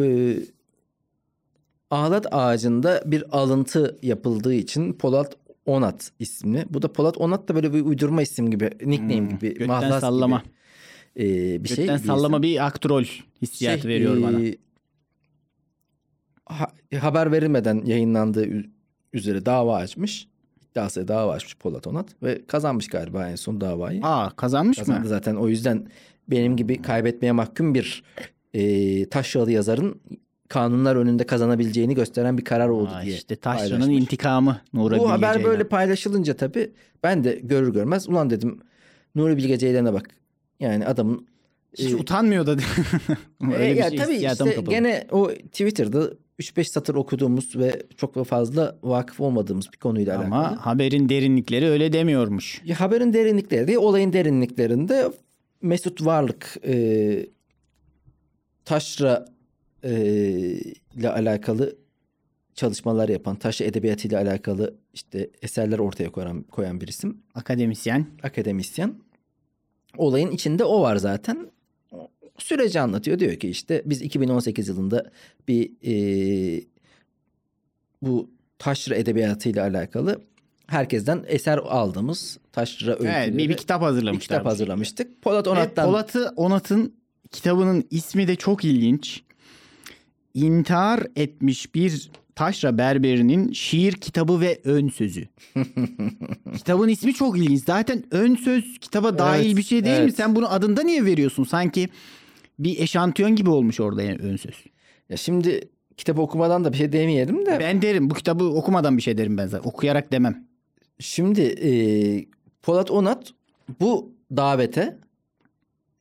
Speaker 1: e, ahlat ağacında bir alıntı yapıldığı için Polat Onat isimli. Bu da Polat Onat da böyle bir uydurma isim gibi, nickname
Speaker 2: Hmm,
Speaker 1: gibi,
Speaker 2: götten
Speaker 1: mahlas gibi,
Speaker 2: sallama.
Speaker 1: e, bir şey.
Speaker 2: Götten
Speaker 1: bir
Speaker 2: sallama bir aktrol
Speaker 1: isim.
Speaker 2: hissiyatı
Speaker 1: Şey,
Speaker 2: veriyor
Speaker 1: e,
Speaker 2: bana.
Speaker 1: ha- e, haber verilmeden yayınlandığı ü- üzere dava açmış. İddiası dava açmış Polat Onat ve kazanmış galiba en son davayı.
Speaker 2: Aa kazanmış
Speaker 1: Kazandı
Speaker 2: mı?
Speaker 1: zaten o yüzden benim gibi kaybetmeye mahkum bir e, taşralı yazarın kanunlar önünde kazanabileceğini gösteren bir karar oldu
Speaker 2: Aa,
Speaker 1: diye.
Speaker 2: işte Taşra'nın
Speaker 1: paylaşmış.
Speaker 2: intikamı Nura
Speaker 1: Bu
Speaker 2: Bilge
Speaker 1: haber
Speaker 2: Ceylan.
Speaker 1: böyle paylaşılınca tabii ben de görür görmez ulan dedim Nuri Bilge Ceylan'a bak. Yani adamın
Speaker 2: Hiç
Speaker 1: e,
Speaker 2: utanmıyor da. Öyle
Speaker 1: e,
Speaker 2: bir
Speaker 1: ya
Speaker 2: şey
Speaker 1: tabii
Speaker 2: hissiyata
Speaker 1: işte
Speaker 2: mı kapıldı?
Speaker 1: gene o Twitter'da 3-5 satır okuduğumuz ve çok da fazla vakıf olmadığımız bir konuyla alakalı.
Speaker 2: Ama haberin derinlikleri öyle demiyormuş.
Speaker 1: Ya haberin derinlikleri değil, olayın derinliklerinde Mesut Varlık e, Taşra e, ile alakalı çalışmalar yapan, Taşra edebiyatıyla alakalı işte eserler ortaya koyan, koyan bir isim.
Speaker 2: Akademisyen.
Speaker 1: Akademisyen. Olayın içinde o var zaten. O Süreci anlatıyor. Diyor ki işte biz 2018 yılında bir e, bu Taşra edebiyatıyla alakalı herkesten eser aldığımız Taşra öyküleri
Speaker 2: Evet, bir, bir kitap hazırlamışlar.
Speaker 1: bir kitap
Speaker 2: bu şekilde.
Speaker 1: hazırlamıştık. Polat
Speaker 2: Ve
Speaker 1: Onat'tan
Speaker 2: Polat'ı Onat'ın Kitabının ismi de çok ilginç. İntihar etmiş bir taşra berberinin şiir kitabı ve ön sözü. Kitabın ismi çok ilginç. Zaten ön söz kitaba dahil
Speaker 1: Evet,
Speaker 2: bir şey değil mi?
Speaker 1: evet.
Speaker 2: Sen bunu adında niye veriyorsun? Sanki bir eşantiyon gibi olmuş orada yani ön söz.
Speaker 1: Ya şimdi kitap okumadan da bir şey demeyelim de.
Speaker 2: Ben derim bu kitabı okumadan bir şey derim ben zaten. Okuyarak demem.
Speaker 1: Şimdi e, Polat Onat bu davete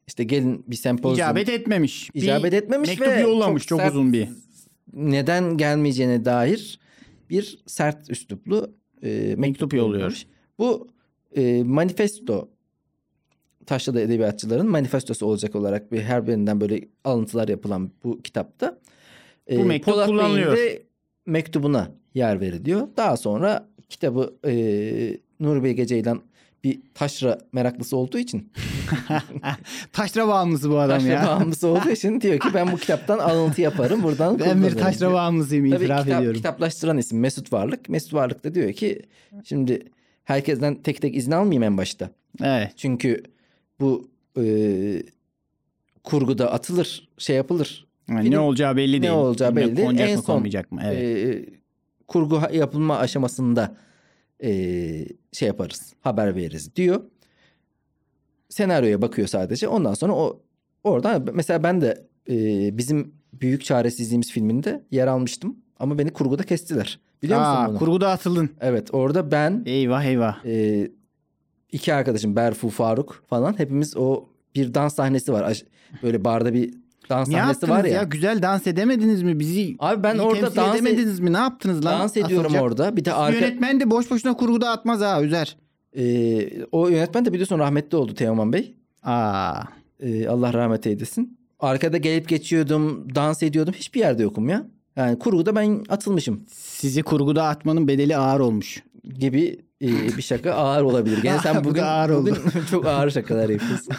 Speaker 1: işte gelin bir sempozyum
Speaker 2: İcabet etmemiş. Bir
Speaker 1: icabet etmemiş
Speaker 2: mektup
Speaker 1: ve
Speaker 2: yollamış çok,
Speaker 1: sert
Speaker 2: uzun bir.
Speaker 1: neden gelmeyeceğine dair bir sert üsluplu e, mektup,
Speaker 2: Mektup
Speaker 1: yollamış.
Speaker 2: yolluyor.
Speaker 1: Bu e, manifesto Taşlı'da edebiyatçıların manifestosu olacak olarak bir her birinden böyle alıntılar yapılan bu kitapta. e,
Speaker 2: Bu mektup
Speaker 1: Polat Bey'in
Speaker 2: kullanılıyor.
Speaker 1: de mektubuna yer veriliyor. Daha sonra kitabı e, Nuri Bilge Ceylan bir taşra meraklısı olduğu için
Speaker 2: Taşra bağımlısı bu adam
Speaker 1: taşra
Speaker 2: ya.
Speaker 1: bağımlısı olduğu için diyor ki ben bu kitaptan alıntı yaparım buradan
Speaker 2: Ben bir
Speaker 1: kullanırım
Speaker 2: taşra
Speaker 1: diyor.
Speaker 2: bağımlısıyım
Speaker 1: Tabii
Speaker 2: itiraf
Speaker 1: kitap-
Speaker 2: ediyorum.
Speaker 1: kitaplaştıran isim Mesut Varlık. Mesut Varlık da diyor ki şimdi herkesten tek tek izin almayayım en başta.
Speaker 2: Evet.
Speaker 1: Çünkü bu e, kurguda atılır, şey yapılır.
Speaker 2: Yani
Speaker 1: Film-
Speaker 2: ne olacağı belli
Speaker 1: ne
Speaker 2: değil.
Speaker 1: olacağı
Speaker 2: Bilmem
Speaker 1: belli değil.
Speaker 2: Konacak
Speaker 1: En
Speaker 2: mı
Speaker 1: son,
Speaker 2: konmayacak mı? Evet.
Speaker 1: E, kurgu ha- yapılma aşamasında e, şey yaparız, haber veririz diyor. Senaryoya bakıyor sadece. Ondan sonra o oradan mesela ben de e, bizim büyük çaresizliğimiz filminde yer almıştım ama beni kurguda kestiler. Biliyor
Speaker 2: Aa,
Speaker 1: musun bunu?
Speaker 2: kurguda atıldın.
Speaker 1: Evet, orada ben
Speaker 2: Eyvah eyvah.
Speaker 1: e, iki arkadaşım Berfu, Faruk falan hepimiz o bir dans sahnesi var. Aş- Böyle barda bir dans
Speaker 2: Ne
Speaker 1: sahnesi
Speaker 2: yaptınız
Speaker 1: var
Speaker 2: ya?
Speaker 1: ya.
Speaker 2: Güzel dans edemediniz mi? Bizi
Speaker 1: Abi ben
Speaker 2: bizi
Speaker 1: orada
Speaker 2: temsil
Speaker 1: dans, ed-
Speaker 2: edemediniz mi? Ne yaptınız lan?
Speaker 1: dans ediyorum
Speaker 2: Asılacak.
Speaker 1: orada. Bir de arka,
Speaker 2: Yönetmen de boş boşuna kurguda atmaz ha Üzer.
Speaker 1: E, o yönetmen de biliyorsun rahmetli oldu Teoman Bey.
Speaker 2: Aa.
Speaker 1: E, Allah rahmet eylesin. Arkada gelip geçiyordum, dans ediyordum. Hiçbir yerde yokum ya. Yani kurguda ben atılmışım
Speaker 2: Sizi kurguda atmanın bedeli ağır olmuş.
Speaker 1: gibi e, bir şaka ağır olabilir. Gene sen
Speaker 2: Bu da
Speaker 1: bugün,
Speaker 2: ağır
Speaker 1: bugün
Speaker 2: oldu.
Speaker 1: çok ağır şakalar yapıyorsun.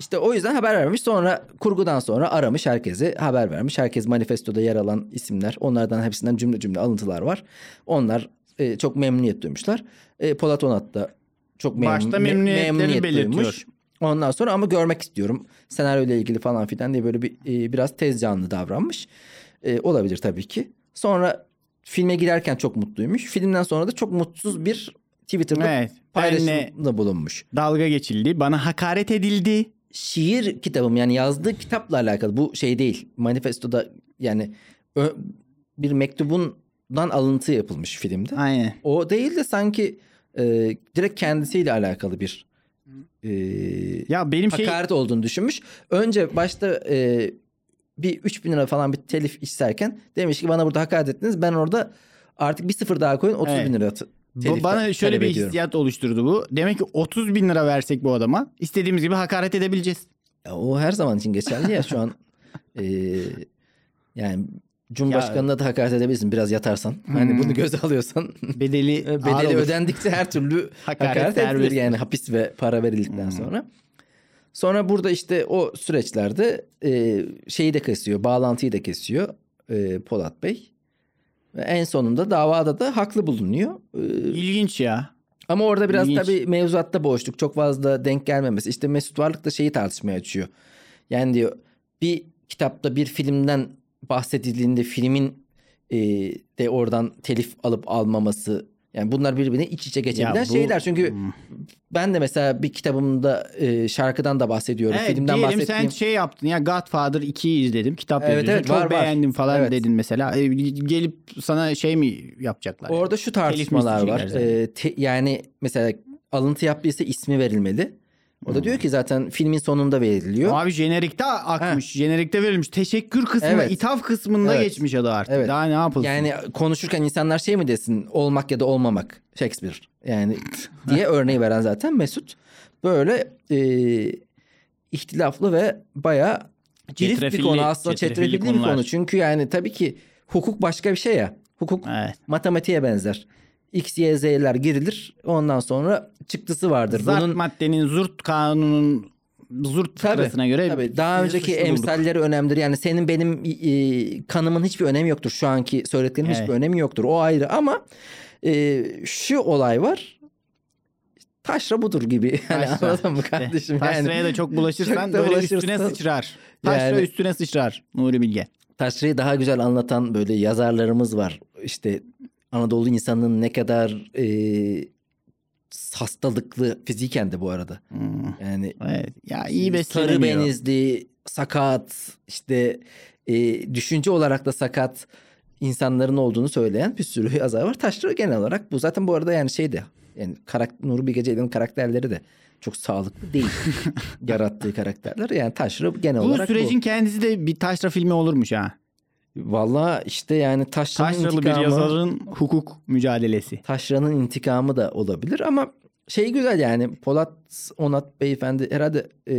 Speaker 1: İşte o yüzden haber vermiş. Sonra kurgudan sonra aramış herkese haber vermiş. Herkes manifestoda yer alan isimler. Onlardan hepsinden cümle cümle alıntılar var. Onlar e, çok memnuniyet duymuşlar. E, Polat Onat da çok memnun,
Speaker 2: Başta
Speaker 1: me-
Speaker 2: memnuniyetlerini
Speaker 1: memnuniyet
Speaker 2: belirtiyor.
Speaker 1: duymuş. Ondan sonra ama görmek istiyorum. Senaryo ile ilgili falan filan diye böyle bir e, biraz tez canlı davranmış. E, olabilir tabii ki. Sonra filme girerken çok mutluymuş. Filmden sonra da çok mutsuz bir Twitter'da
Speaker 2: Evet. Benle
Speaker 1: paylaşımda bulunmuş.
Speaker 2: dalga geçildi. Bana hakaret edildi.
Speaker 1: Şiir kitabım yani yazdığı kitapla alakalı bu şey değil. Manifestoda yani ö- bir mektubundan alıntı yapılmış filmde.
Speaker 2: Aynen.
Speaker 1: O değil de sanki e, direkt kendisiyle alakalı bir e,
Speaker 2: Ya benim şey
Speaker 1: hakaret olduğunu düşünmüş. Önce başta e, bir 3000 lira falan bir telif isterken demiş ki bana burada hakaret ettiniz. Ben orada artık bir sıfır daha koyun 30
Speaker 2: Evet.
Speaker 1: bin lira at-
Speaker 2: Bu
Speaker 1: telif
Speaker 2: bana
Speaker 1: talep
Speaker 2: şöyle bir
Speaker 1: ediyorum.
Speaker 2: hissiyat oluşturdu bu. Demek ki 30 bin lira versek bu adama istediğimiz gibi hakaret edebileceğiz.
Speaker 1: Ya o her zaman için geçerli ya şu an. eee, yani Cumhurbaşkanı'na da hakaret edebilirsin biraz yatarsan. Hani bunu göze alıyorsan
Speaker 2: Bedeli, Hmm. E, ağır
Speaker 1: Ee, bedeli
Speaker 2: olur.
Speaker 1: ödendikçe her türlü
Speaker 2: Hakaret Hmm.
Speaker 1: hakaret edilir
Speaker 2: serbest.
Speaker 1: yani hapis ve para verildikten sonra. Sonra burada işte o süreçlerde eee, şeyi de kesiyor, bağlantıyı da kesiyor eee, Polat Bey. Ve en sonunda davada da haklı bulunuyor. Eee,
Speaker 2: İlginç ya.
Speaker 1: ama orada biraz
Speaker 2: İlginç.
Speaker 1: tabii mevzuatta boşluk. Çok fazla denk gelmemesi. İşte Mesut Varlık da şeyi tartışmaya açıyor. Yani diyor bir kitapta bir filmden bahsedildiğinde filmin e, de oradan telif alıp almaması. Yani bunlar birbirine iç içe geçebilen
Speaker 2: Ya bu-
Speaker 1: şeyler. şey Çünkü
Speaker 2: Hmm.
Speaker 1: ben de mesela bir kitabımda e, şarkıdan da bahsediyorum.
Speaker 2: Evet,
Speaker 1: filmden
Speaker 2: diyelim
Speaker 1: bahsettiğim.
Speaker 2: sen şey yaptın ya Godfather 2'yi izledim. Kitap
Speaker 1: Evet,
Speaker 2: yazıyorsun.
Speaker 1: evet,
Speaker 2: Çok
Speaker 1: var, var.
Speaker 2: beğendim falan
Speaker 1: Evet.
Speaker 2: dedin mesela. E, gelip sana şey mi yapacaklar?
Speaker 1: Orada şu tartışmalar
Speaker 2: misliçilik
Speaker 1: var.
Speaker 2: her zaman.
Speaker 1: Ee, te- yani mesela alıntı yaptıysa ismi verilmeli. O da
Speaker 2: Hmm.
Speaker 1: diyor ki zaten filmin sonunda veriliyor.
Speaker 2: Abi jenerikte akmış. Jenerikte verilmiş. Teşekkür kısmına,
Speaker 1: Evet.
Speaker 2: ithaf kısmında
Speaker 1: Evet.
Speaker 2: geçmiş adı artık.
Speaker 1: Evet.
Speaker 2: Daha ne yapılsın?
Speaker 1: Yani konuşurken insanlar şey mi desin olmak ya da olmamak Shakespeare yani diye örneği veren zaten Mesut. Böyle e, ihtilaflı ve bayağı cirit bir
Speaker 2: Çetrefilli-
Speaker 1: konu aslında
Speaker 2: çetrefilli
Speaker 1: çetrefilli bir
Speaker 2: konular.
Speaker 1: konu. Çünkü yani tabii ki hukuk başka bir şey ya. Hukuk
Speaker 2: Evet.
Speaker 1: matematiğe benzer. X, Y, Z'ler girilir ondan sonra çıktısı vardır.
Speaker 2: Zart
Speaker 1: Bunun
Speaker 2: maddenin zurt kanunun zurt
Speaker 1: Tabii,
Speaker 2: fıkrasına göre
Speaker 1: Tabii daha
Speaker 2: sizi
Speaker 1: önceki
Speaker 2: suçlu bulduk.
Speaker 1: emsalleri önemlidir. Yani senin benim e, kanımın hiçbir önemi yoktur. Şu anki söylediklerimin
Speaker 2: Evet.
Speaker 1: hiçbir önemi yoktur. O ayrı ama e, şu olay var. taşra budur gibi. Yani
Speaker 2: Taşra.
Speaker 1: anladın mı
Speaker 2: İşte,
Speaker 1: kardeşim?
Speaker 2: Taşraya
Speaker 1: yani
Speaker 2: da çok bulaşırsan
Speaker 1: çok da
Speaker 2: böyle üstüne
Speaker 1: bulaşırsan-
Speaker 2: sıçrar. Taşra
Speaker 1: Yani-
Speaker 2: üstüne sıçrar Nuri Bilge.
Speaker 1: taşrayı daha güzel anlatan böyle yazarlarımız var. İşte Anadolu insanının ne kadar e, hastalıklı fiziken de bu arada.
Speaker 2: Hmm.
Speaker 1: Yani
Speaker 2: Evet. Ya iyi beslenemiyor.
Speaker 1: sarı benizli, sakat, işte e, düşünce olarak da sakat insanların olduğunu söyleyen bir sürü yazar var. Taşra genel olarak bu zaten bu arada yani şey de yani karakter, Nuri Bilge Ceylan'ın karakterleri de çok sağlıklı değil. Yarattığı karakterler yani Taşra genel
Speaker 2: Bu
Speaker 1: olarak
Speaker 2: sürecin kendisi de bir taşra filmi olurmuş ha.
Speaker 1: bu. Valla işte yani Taşra'nın
Speaker 2: Taşralı bir
Speaker 1: intikamı,
Speaker 2: yazarın hukuk mücadelesi.
Speaker 1: Taşra'nın intikamı da olabilir ama şey güzel yani Polat Onat beyefendi herhalde e,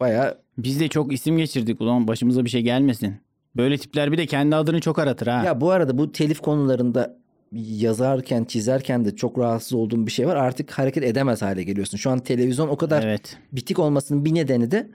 Speaker 1: bayağı
Speaker 2: Biz de çok isim geçirdik ulan başımıza bir şey gelmesin. Böyle tipler bir de kendi adını çok aratır ha.
Speaker 1: Ya bu arada bu telif konularında yazarken çizerken de çok rahatsız olduğum bir şey var. Artık hareket edemez hale geliyorsun. Şu an televizyon o kadar
Speaker 2: evet.
Speaker 1: bitik olmasının bir nedeni de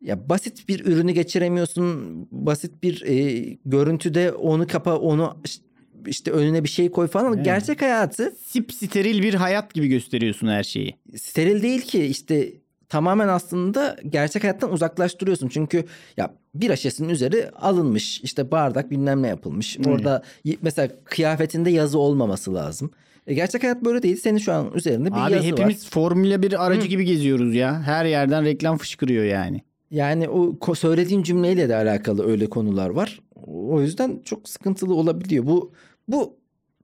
Speaker 1: ya basit bir ürünü geçiremiyorsun. Basit bir e, görüntüde onu kapa onu iş- işte önüne bir şey koy falan.
Speaker 2: Evet.
Speaker 1: Gerçek hayatı
Speaker 2: Sip steril bir hayat gibi gösteriyorsun her şeyi.
Speaker 1: steril değil ki işte tamamen aslında gerçek hayattan uzaklaştırıyorsun. Çünkü ya bir aşesinin üzeri alınmış işte bardak bilmem ne yapılmış.
Speaker 2: Aynen.
Speaker 1: Orada y- mesela kıyafetinde yazı olmaması lazım. E, gerçek hayat böyle değil. Senin şu an üzerinde bir
Speaker 2: Abi
Speaker 1: yazı var.
Speaker 2: hepimiz Formula 1 aracı gibi geziyoruz ya. Her yerden reklam fışkırıyor yani.
Speaker 1: Yani o ko- söylediğin cümleyle de alakalı öyle konular var. O yüzden çok sıkıntılı olabiliyor. Bu bu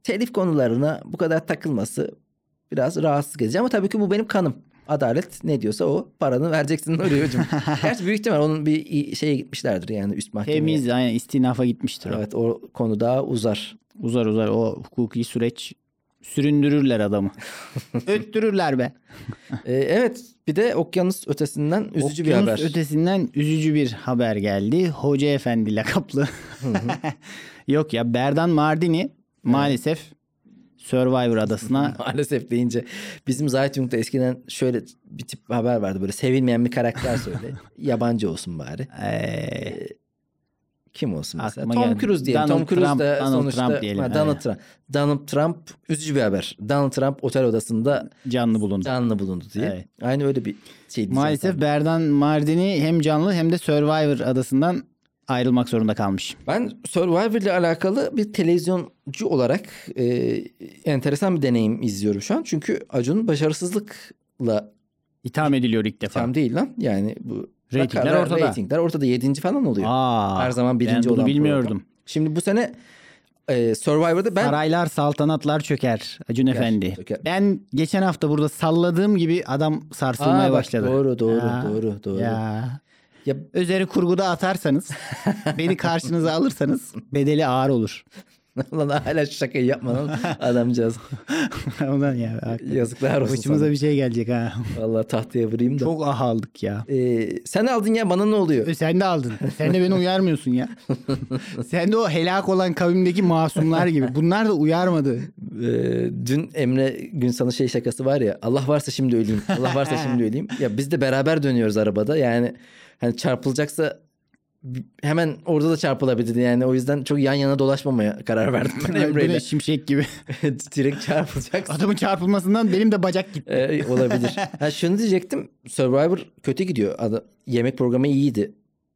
Speaker 1: telif konularına bu kadar takılması biraz rahatsız edici ama tabii ki bu benim kanım. Adalet ne diyorsa o paranı vereceksin oraya hocam. Gerçi büyük ihtimal onun bir i- şeye gitmişlerdir yani üst mahkemeye.
Speaker 2: Temiz aynen istinafa gitmiştir o.
Speaker 1: Evet o konu daha uzar.
Speaker 2: Uzar uzar o hukuki süreç süründürürler adamı. Öttürürler be.
Speaker 1: Ee, evet bir de okyanus ötesinden üzücü bir
Speaker 2: Okyanus
Speaker 1: haber.
Speaker 2: ötesinden üzücü bir haber geldi. Hoca Efendi lakaplı. Yok ya Berdan Mardini maalesef Survivor adasına
Speaker 1: Maalesef deyince bizim Zaytung'da eskiden şöyle bir tip haber vardı böyle sevilmeyen bir karakter söyle. Yabancı olsun bari.
Speaker 2: eee,
Speaker 1: Kim olsun mesela?
Speaker 2: Aklıma
Speaker 1: Tom
Speaker 2: geldi.
Speaker 1: Cruise diyelim.
Speaker 2: Donald
Speaker 1: Tom Cruise
Speaker 2: Trump,
Speaker 1: da
Speaker 2: Donald
Speaker 1: sonuçta
Speaker 2: Trump diyelim,
Speaker 1: Ha, Donald
Speaker 2: aynen.
Speaker 1: Trump. Donald Trump üzücü bir haber. Donald Trump otel odasında
Speaker 2: canlı bulundu.
Speaker 1: canlı bulundu diye.
Speaker 2: Evet.
Speaker 1: Aynı öyle bir şey.
Speaker 2: Maalesef Berdan Mardini hem canlı hem de Survivor adasından ayrılmak zorunda kalmış.
Speaker 1: Ben Survivor ile alakalı bir televizyoncu olarak e, enteresan bir deneyim izliyorum şu an. Çünkü Acun başarısızlıkla
Speaker 2: İtham ediliyor ilk defa.
Speaker 1: tam değil lan. Yani bu
Speaker 2: Reytingler
Speaker 1: rakamlar-
Speaker 2: ortada.
Speaker 1: Reytingler ortada. Yedinci falan oluyor.
Speaker 2: Aa,
Speaker 1: Her zaman birinci
Speaker 2: ben bunu
Speaker 1: olan
Speaker 2: bilmiyordum.
Speaker 1: program. Şimdi bu sene e, Survivor'da ben
Speaker 2: Saraylar saltanatlar çöker Acun Efendi.
Speaker 1: çöker.
Speaker 2: Ben geçen hafta burada salladığım gibi adam sarsılmaya
Speaker 1: Aa, bak,
Speaker 2: başladı.
Speaker 1: Doğru doğru
Speaker 2: Ya,
Speaker 1: doğru doğru.
Speaker 2: Ya.
Speaker 1: Ya
Speaker 2: Özeri kurguda atarsanız, beni karşınıza alırsanız bedeli ağır olur.
Speaker 1: Lan hala şu şakayı yapma lan adamcağız.
Speaker 2: Ondan ya. bak.
Speaker 1: Yazıklar olsun
Speaker 2: Başımıza bir şey gelecek ha.
Speaker 1: sana. Vallahi tahtaya vurayım da.
Speaker 2: Çok ah aldık ya.
Speaker 1: Ee, sen aldın ya bana ne oluyor?
Speaker 2: E, Sen de aldın. Sen de beni uyarmıyorsun ya. Sen de o helak olan kavimdeki masumlar gibi. Bunlar da uyarmadı.
Speaker 1: Ee, dün Emre Günsal'ın şey şakası var ya. Allah varsa şimdi öleyim. Allah varsa şimdi öleyim. Ya biz de beraber dönüyoruz arabada. Yani hani çarpılacaksa hemen orada da çarpılabilirdi yani o yüzden çok yan yana dolaşmamaya karar verdim ben
Speaker 2: Böyle
Speaker 1: Emre'yle.
Speaker 2: şimşek gibi.
Speaker 1: Direkt çarpılacaksa.
Speaker 2: Adamın çarpılmasından benim de bacak gitti.
Speaker 1: Ee, olabilir. Ha, şunu diyecektim. Survivor kötü gidiyor. Ada- yemek programı iyiydi.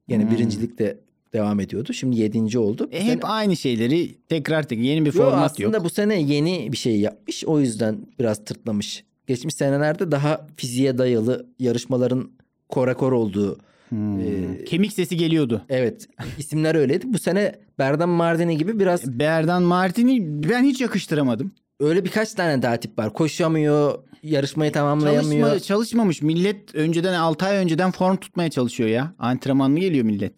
Speaker 1: Yani birincilikte devam ediyordu. Şimdi yedinci oldu. Bu
Speaker 2: E,
Speaker 1: sene-
Speaker 2: hep aynı şeyleri tekrar tekrar. Yeni bir
Speaker 1: Yo,
Speaker 2: format yok.
Speaker 1: aslında bu sene yeni bir şey yapmış. O yüzden biraz tırtlamış. Geçmiş senelerde daha fiziğe dayalı yarışmaların korakor olduğu.
Speaker 2: Hmm.
Speaker 1: e,
Speaker 2: Kemik sesi geliyordu.
Speaker 1: Evet. isimler öyleydi. Bu sene Berdan Mardini gibi biraz
Speaker 2: Berdan Martin'i ben hiç yakıştıramadım.
Speaker 1: öyle birkaç tane daha tip var. Koşamıyor, yarışmayı tamamlayamıyor.
Speaker 2: Çalışma, çalışmamış. Millet önceden 6 ay önceden form tutmaya çalışıyor ya. Antrenmanlı geliyor millet.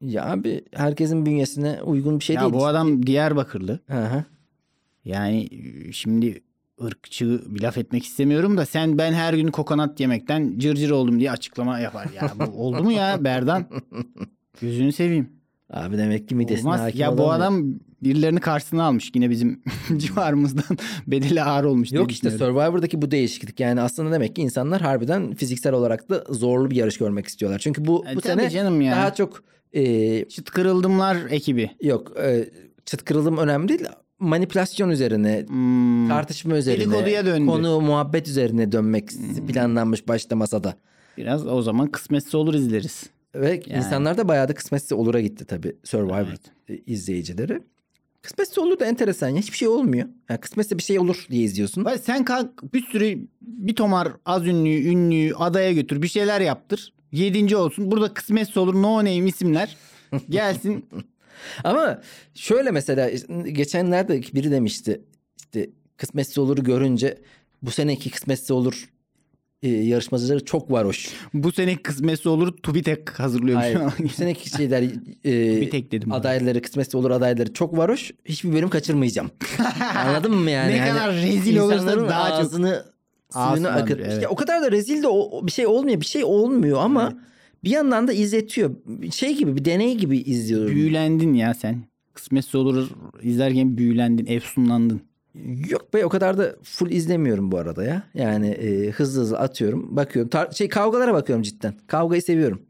Speaker 1: Ya abi herkesin bünyesine uygun bir şey
Speaker 2: ya
Speaker 1: değil.
Speaker 2: bu adam Diyarbakırlı.
Speaker 1: Hı hı.
Speaker 2: Yani e, şimdi ırkçı bir laf etmek istemiyorum da sen ben her gün kokonat yemekten cırcır oldum diye açıklama yapar. Ya bu oldu mu ya Berdan? Gözünü seveyim.
Speaker 1: Abi demek ki midesine
Speaker 2: Olmaz.
Speaker 1: hakim
Speaker 2: Ya bu
Speaker 1: olamıyor.
Speaker 2: adam birilerini karşısına almış. Yine bizim civarımızdan bedeli ağır olmuş. diye
Speaker 1: Yok işte
Speaker 2: düşünüyorum.
Speaker 1: Survivor'daki bu değişiklik. Yani aslında demek ki insanlar harbiden fiziksel olarak da zorlu bir yarış görmek istiyorlar. Çünkü bu
Speaker 2: E,
Speaker 1: bu
Speaker 2: tabii
Speaker 1: sene
Speaker 2: canım ya.
Speaker 1: daha çok e,
Speaker 2: Çıt kırıldımlar ekibi.
Speaker 1: yok e, çıt kırılım önemli değil. manipülasyon üzerine,
Speaker 2: Hmm.
Speaker 1: tartışma üzerine,
Speaker 2: Dedikoduya döndü. Hmm.
Speaker 1: konu muhabbet üzerine dönmek planlanmış başta masada.
Speaker 2: Biraz o zaman kısmetse olur izleriz.
Speaker 1: Ve
Speaker 2: Yani.
Speaker 1: insanlar da bayağı da kısmetse olura gitti tabii Survivor
Speaker 2: Evet.
Speaker 1: e, izleyicileri. Kısmetse olur da enteresan ya hiçbir şey olmuyor. Yani kısmetse bir şey olur diye izliyorsun.
Speaker 2: Bak sen kalk bir sürü bir tomar az ünlüyü ünlüyü adaya götür bir şeyler yaptır. Yedinci olsun. Burada kısmetse olur no name isimler. Gelsin.
Speaker 1: Ama şöyle mesela geçenlerde biri demişti işte kısmetse oluru görünce bu seneki kısmetse olur e, yarışmacıları çok varoş.
Speaker 2: bu sene kısmetse olur Tubitek hazırlıyor.
Speaker 1: Hayır.
Speaker 2: şu an.
Speaker 1: bu seneki şeyler e,
Speaker 2: bir tek dedim.
Speaker 1: adayları kısmetse olur adayları çok varoş. Hiçbir bölüm kaçırmayacağım. Anladın mı yani?
Speaker 2: Ne
Speaker 1: Hani
Speaker 2: kadar rezil olursa
Speaker 1: insanların
Speaker 2: daha çok
Speaker 1: ağzını suyunu
Speaker 2: ağzından
Speaker 1: akıtmış.
Speaker 2: evet.
Speaker 1: Ya o kadar da rezil de o- bir şey olmuyor. Bir şey olmuyor ama
Speaker 2: Evet.
Speaker 1: bir yandan da izletiyor. Şey gibi bir deney gibi izliyorum.
Speaker 2: Büyülendin ya sen. Kısmetse olur izlerken büyülendin, efsunlandın.
Speaker 1: Yok be o kadar da full izlemiyorum bu arada ya. Yani e, hızlı hızlı atıyorum. Bakıyorum. Tar- şey kavgalara bakıyorum cidden. Kavgayı seviyorum.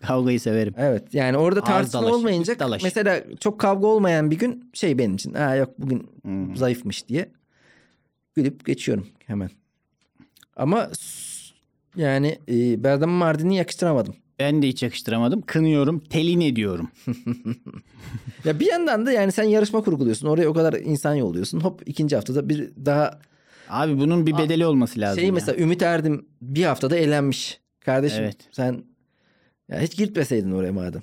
Speaker 2: Kavgayı severim.
Speaker 1: Evet. Yani orada
Speaker 2: Ağız
Speaker 1: tartışma
Speaker 2: dalaşı,
Speaker 1: olmayınca
Speaker 2: iç dalaşı.
Speaker 1: mesela çok kavga olmayan bir gün şey benim için. Ha yok bugün
Speaker 2: Hmm.
Speaker 1: zayıfmış diye gülüp geçiyorum hemen. Ama s- yani e, Berdan Mardin'i yakıştıramadım.
Speaker 2: Ben de hiç yakıştıramadım. Kınıyorum, telin ediyorum.
Speaker 1: Ya bir yandan da yani sen yarışma kurguluyorsun. Oraya o kadar insan yolluyorsun. Hop ikinci haftada bir daha
Speaker 2: Abi bunun bir
Speaker 1: Aa,
Speaker 2: bedeli olması lazım.
Speaker 1: şey
Speaker 2: ya.
Speaker 1: mesela Ümit Erdim bir haftada eğlenmiş. Kardeşim
Speaker 2: Evet.
Speaker 1: sen ya hiç gitmeseydin oraya madem.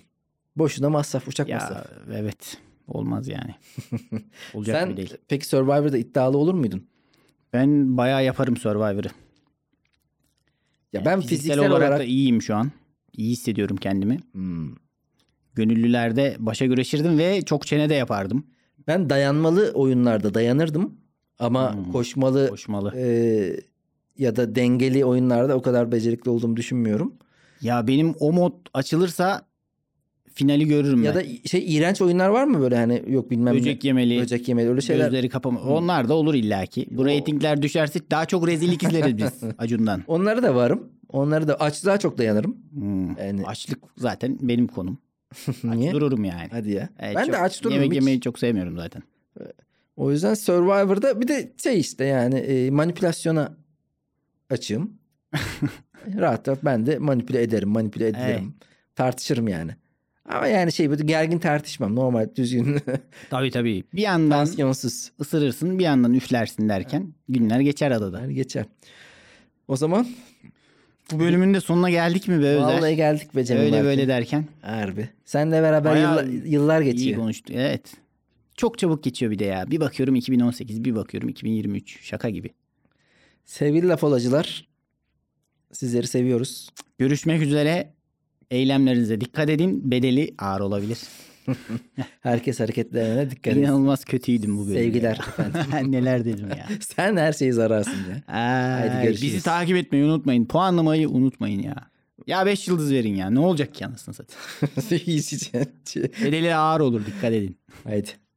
Speaker 1: Boşuna masraf uçak masrafı.
Speaker 2: Ya evet. Olmaz yani. Olacak
Speaker 1: Sen
Speaker 2: bir değil.
Speaker 1: peki Survivor'da iddialı olur muydun?
Speaker 2: Ben bayağı yaparım Survivor'ı.
Speaker 1: Ya
Speaker 2: Yani
Speaker 1: ben fiziksel, olarak,
Speaker 2: da iyiyim şu an. İyi hissediyorum kendimi.
Speaker 1: Hmm.
Speaker 2: Gönüllülerde başa güreşirdim ve çok çene de yapardım.
Speaker 1: ben dayanmalı oyunlarda dayanırdım ama
Speaker 2: Hmm.
Speaker 1: koşmalı
Speaker 2: Koşmalı.
Speaker 1: Ee, ya da dengeli oyunlarda o kadar becerikli olduğumu düşünmüyorum.
Speaker 2: Ya benim o mod açılırsa finali görürüm
Speaker 1: Ya
Speaker 2: ben.
Speaker 1: da şey iğrenç oyunlar var mı böyle hani yok bilmem
Speaker 2: Hmm. Böcek
Speaker 1: ne
Speaker 2: yemeli.
Speaker 1: böcek yemeli öyle şeyler.
Speaker 2: Gözleri kapama. Onlar da olur illaki. Bu reytingler düşerse daha çok rezillik izleriz biz Acun'dan.
Speaker 1: Onlara da varım. Onları da açlığa çok dayanırım.
Speaker 2: Hmm.
Speaker 1: Yani-
Speaker 2: Açlık zaten benim konum.
Speaker 1: Niye?
Speaker 2: Aç dururum yani.
Speaker 1: Hadi ya.
Speaker 2: Evet,
Speaker 1: ben
Speaker 2: çok
Speaker 1: de aç dururum.
Speaker 2: Yemek
Speaker 1: hiç.
Speaker 2: yemeyi çok sevmiyorum zaten.
Speaker 1: O yüzden Survivor'da bir de şey işte yani e, manipülasyona açığım. rahat rahat ben de manipüle ederim, manipüle ederim. Tartışırım yani. Ama yani şey böyle gergin tartışmam. Normal düzgün,
Speaker 2: Tabii tabii. Bir yandan
Speaker 1: tansiyonsuz.
Speaker 2: ısırırsın bir yandan üflersin derken günler geçer adada.
Speaker 1: Yani geçer. O zaman
Speaker 2: Bu bölümün de sonuna geldik mi be Özer?
Speaker 1: Vallahi geldik be Cemil.
Speaker 2: Öyle
Speaker 1: Erkin.
Speaker 2: böyle derken
Speaker 1: Harbi. Senle beraber
Speaker 2: Bayağı
Speaker 1: yıllar, yıllar
Speaker 2: iyi
Speaker 1: geçiyor.
Speaker 2: konuştuk. Evet. Çok çabuk geçiyor bir de ya. Bir bakıyorum 2018 bir bakıyorum 2023 şaka gibi.
Speaker 1: Sevgili laf olacılar. Sizleri seviyoruz.
Speaker 2: Görüşmek üzere. Eylemlerinize dikkat edin. Bedeli ağır olabilir.
Speaker 1: Herkes hareketlerine dikkat edin.
Speaker 2: İnanılmaz kötüydüm bu bölümde.
Speaker 1: Sevgiler efendim.
Speaker 2: Neler dedim ya.
Speaker 1: Sen her şeyi zararsın ya.
Speaker 2: Ay,
Speaker 1: Haydi görüşürüz.
Speaker 2: bizi takip etmeyi unutmayın. Puanlamayı unutmayın ya. Ya 5 yıldız verin ya. Ne olacak ki anasını satayım.
Speaker 1: İyi şey-
Speaker 2: Bedeli ağır olur dikkat edin.
Speaker 1: Haydi.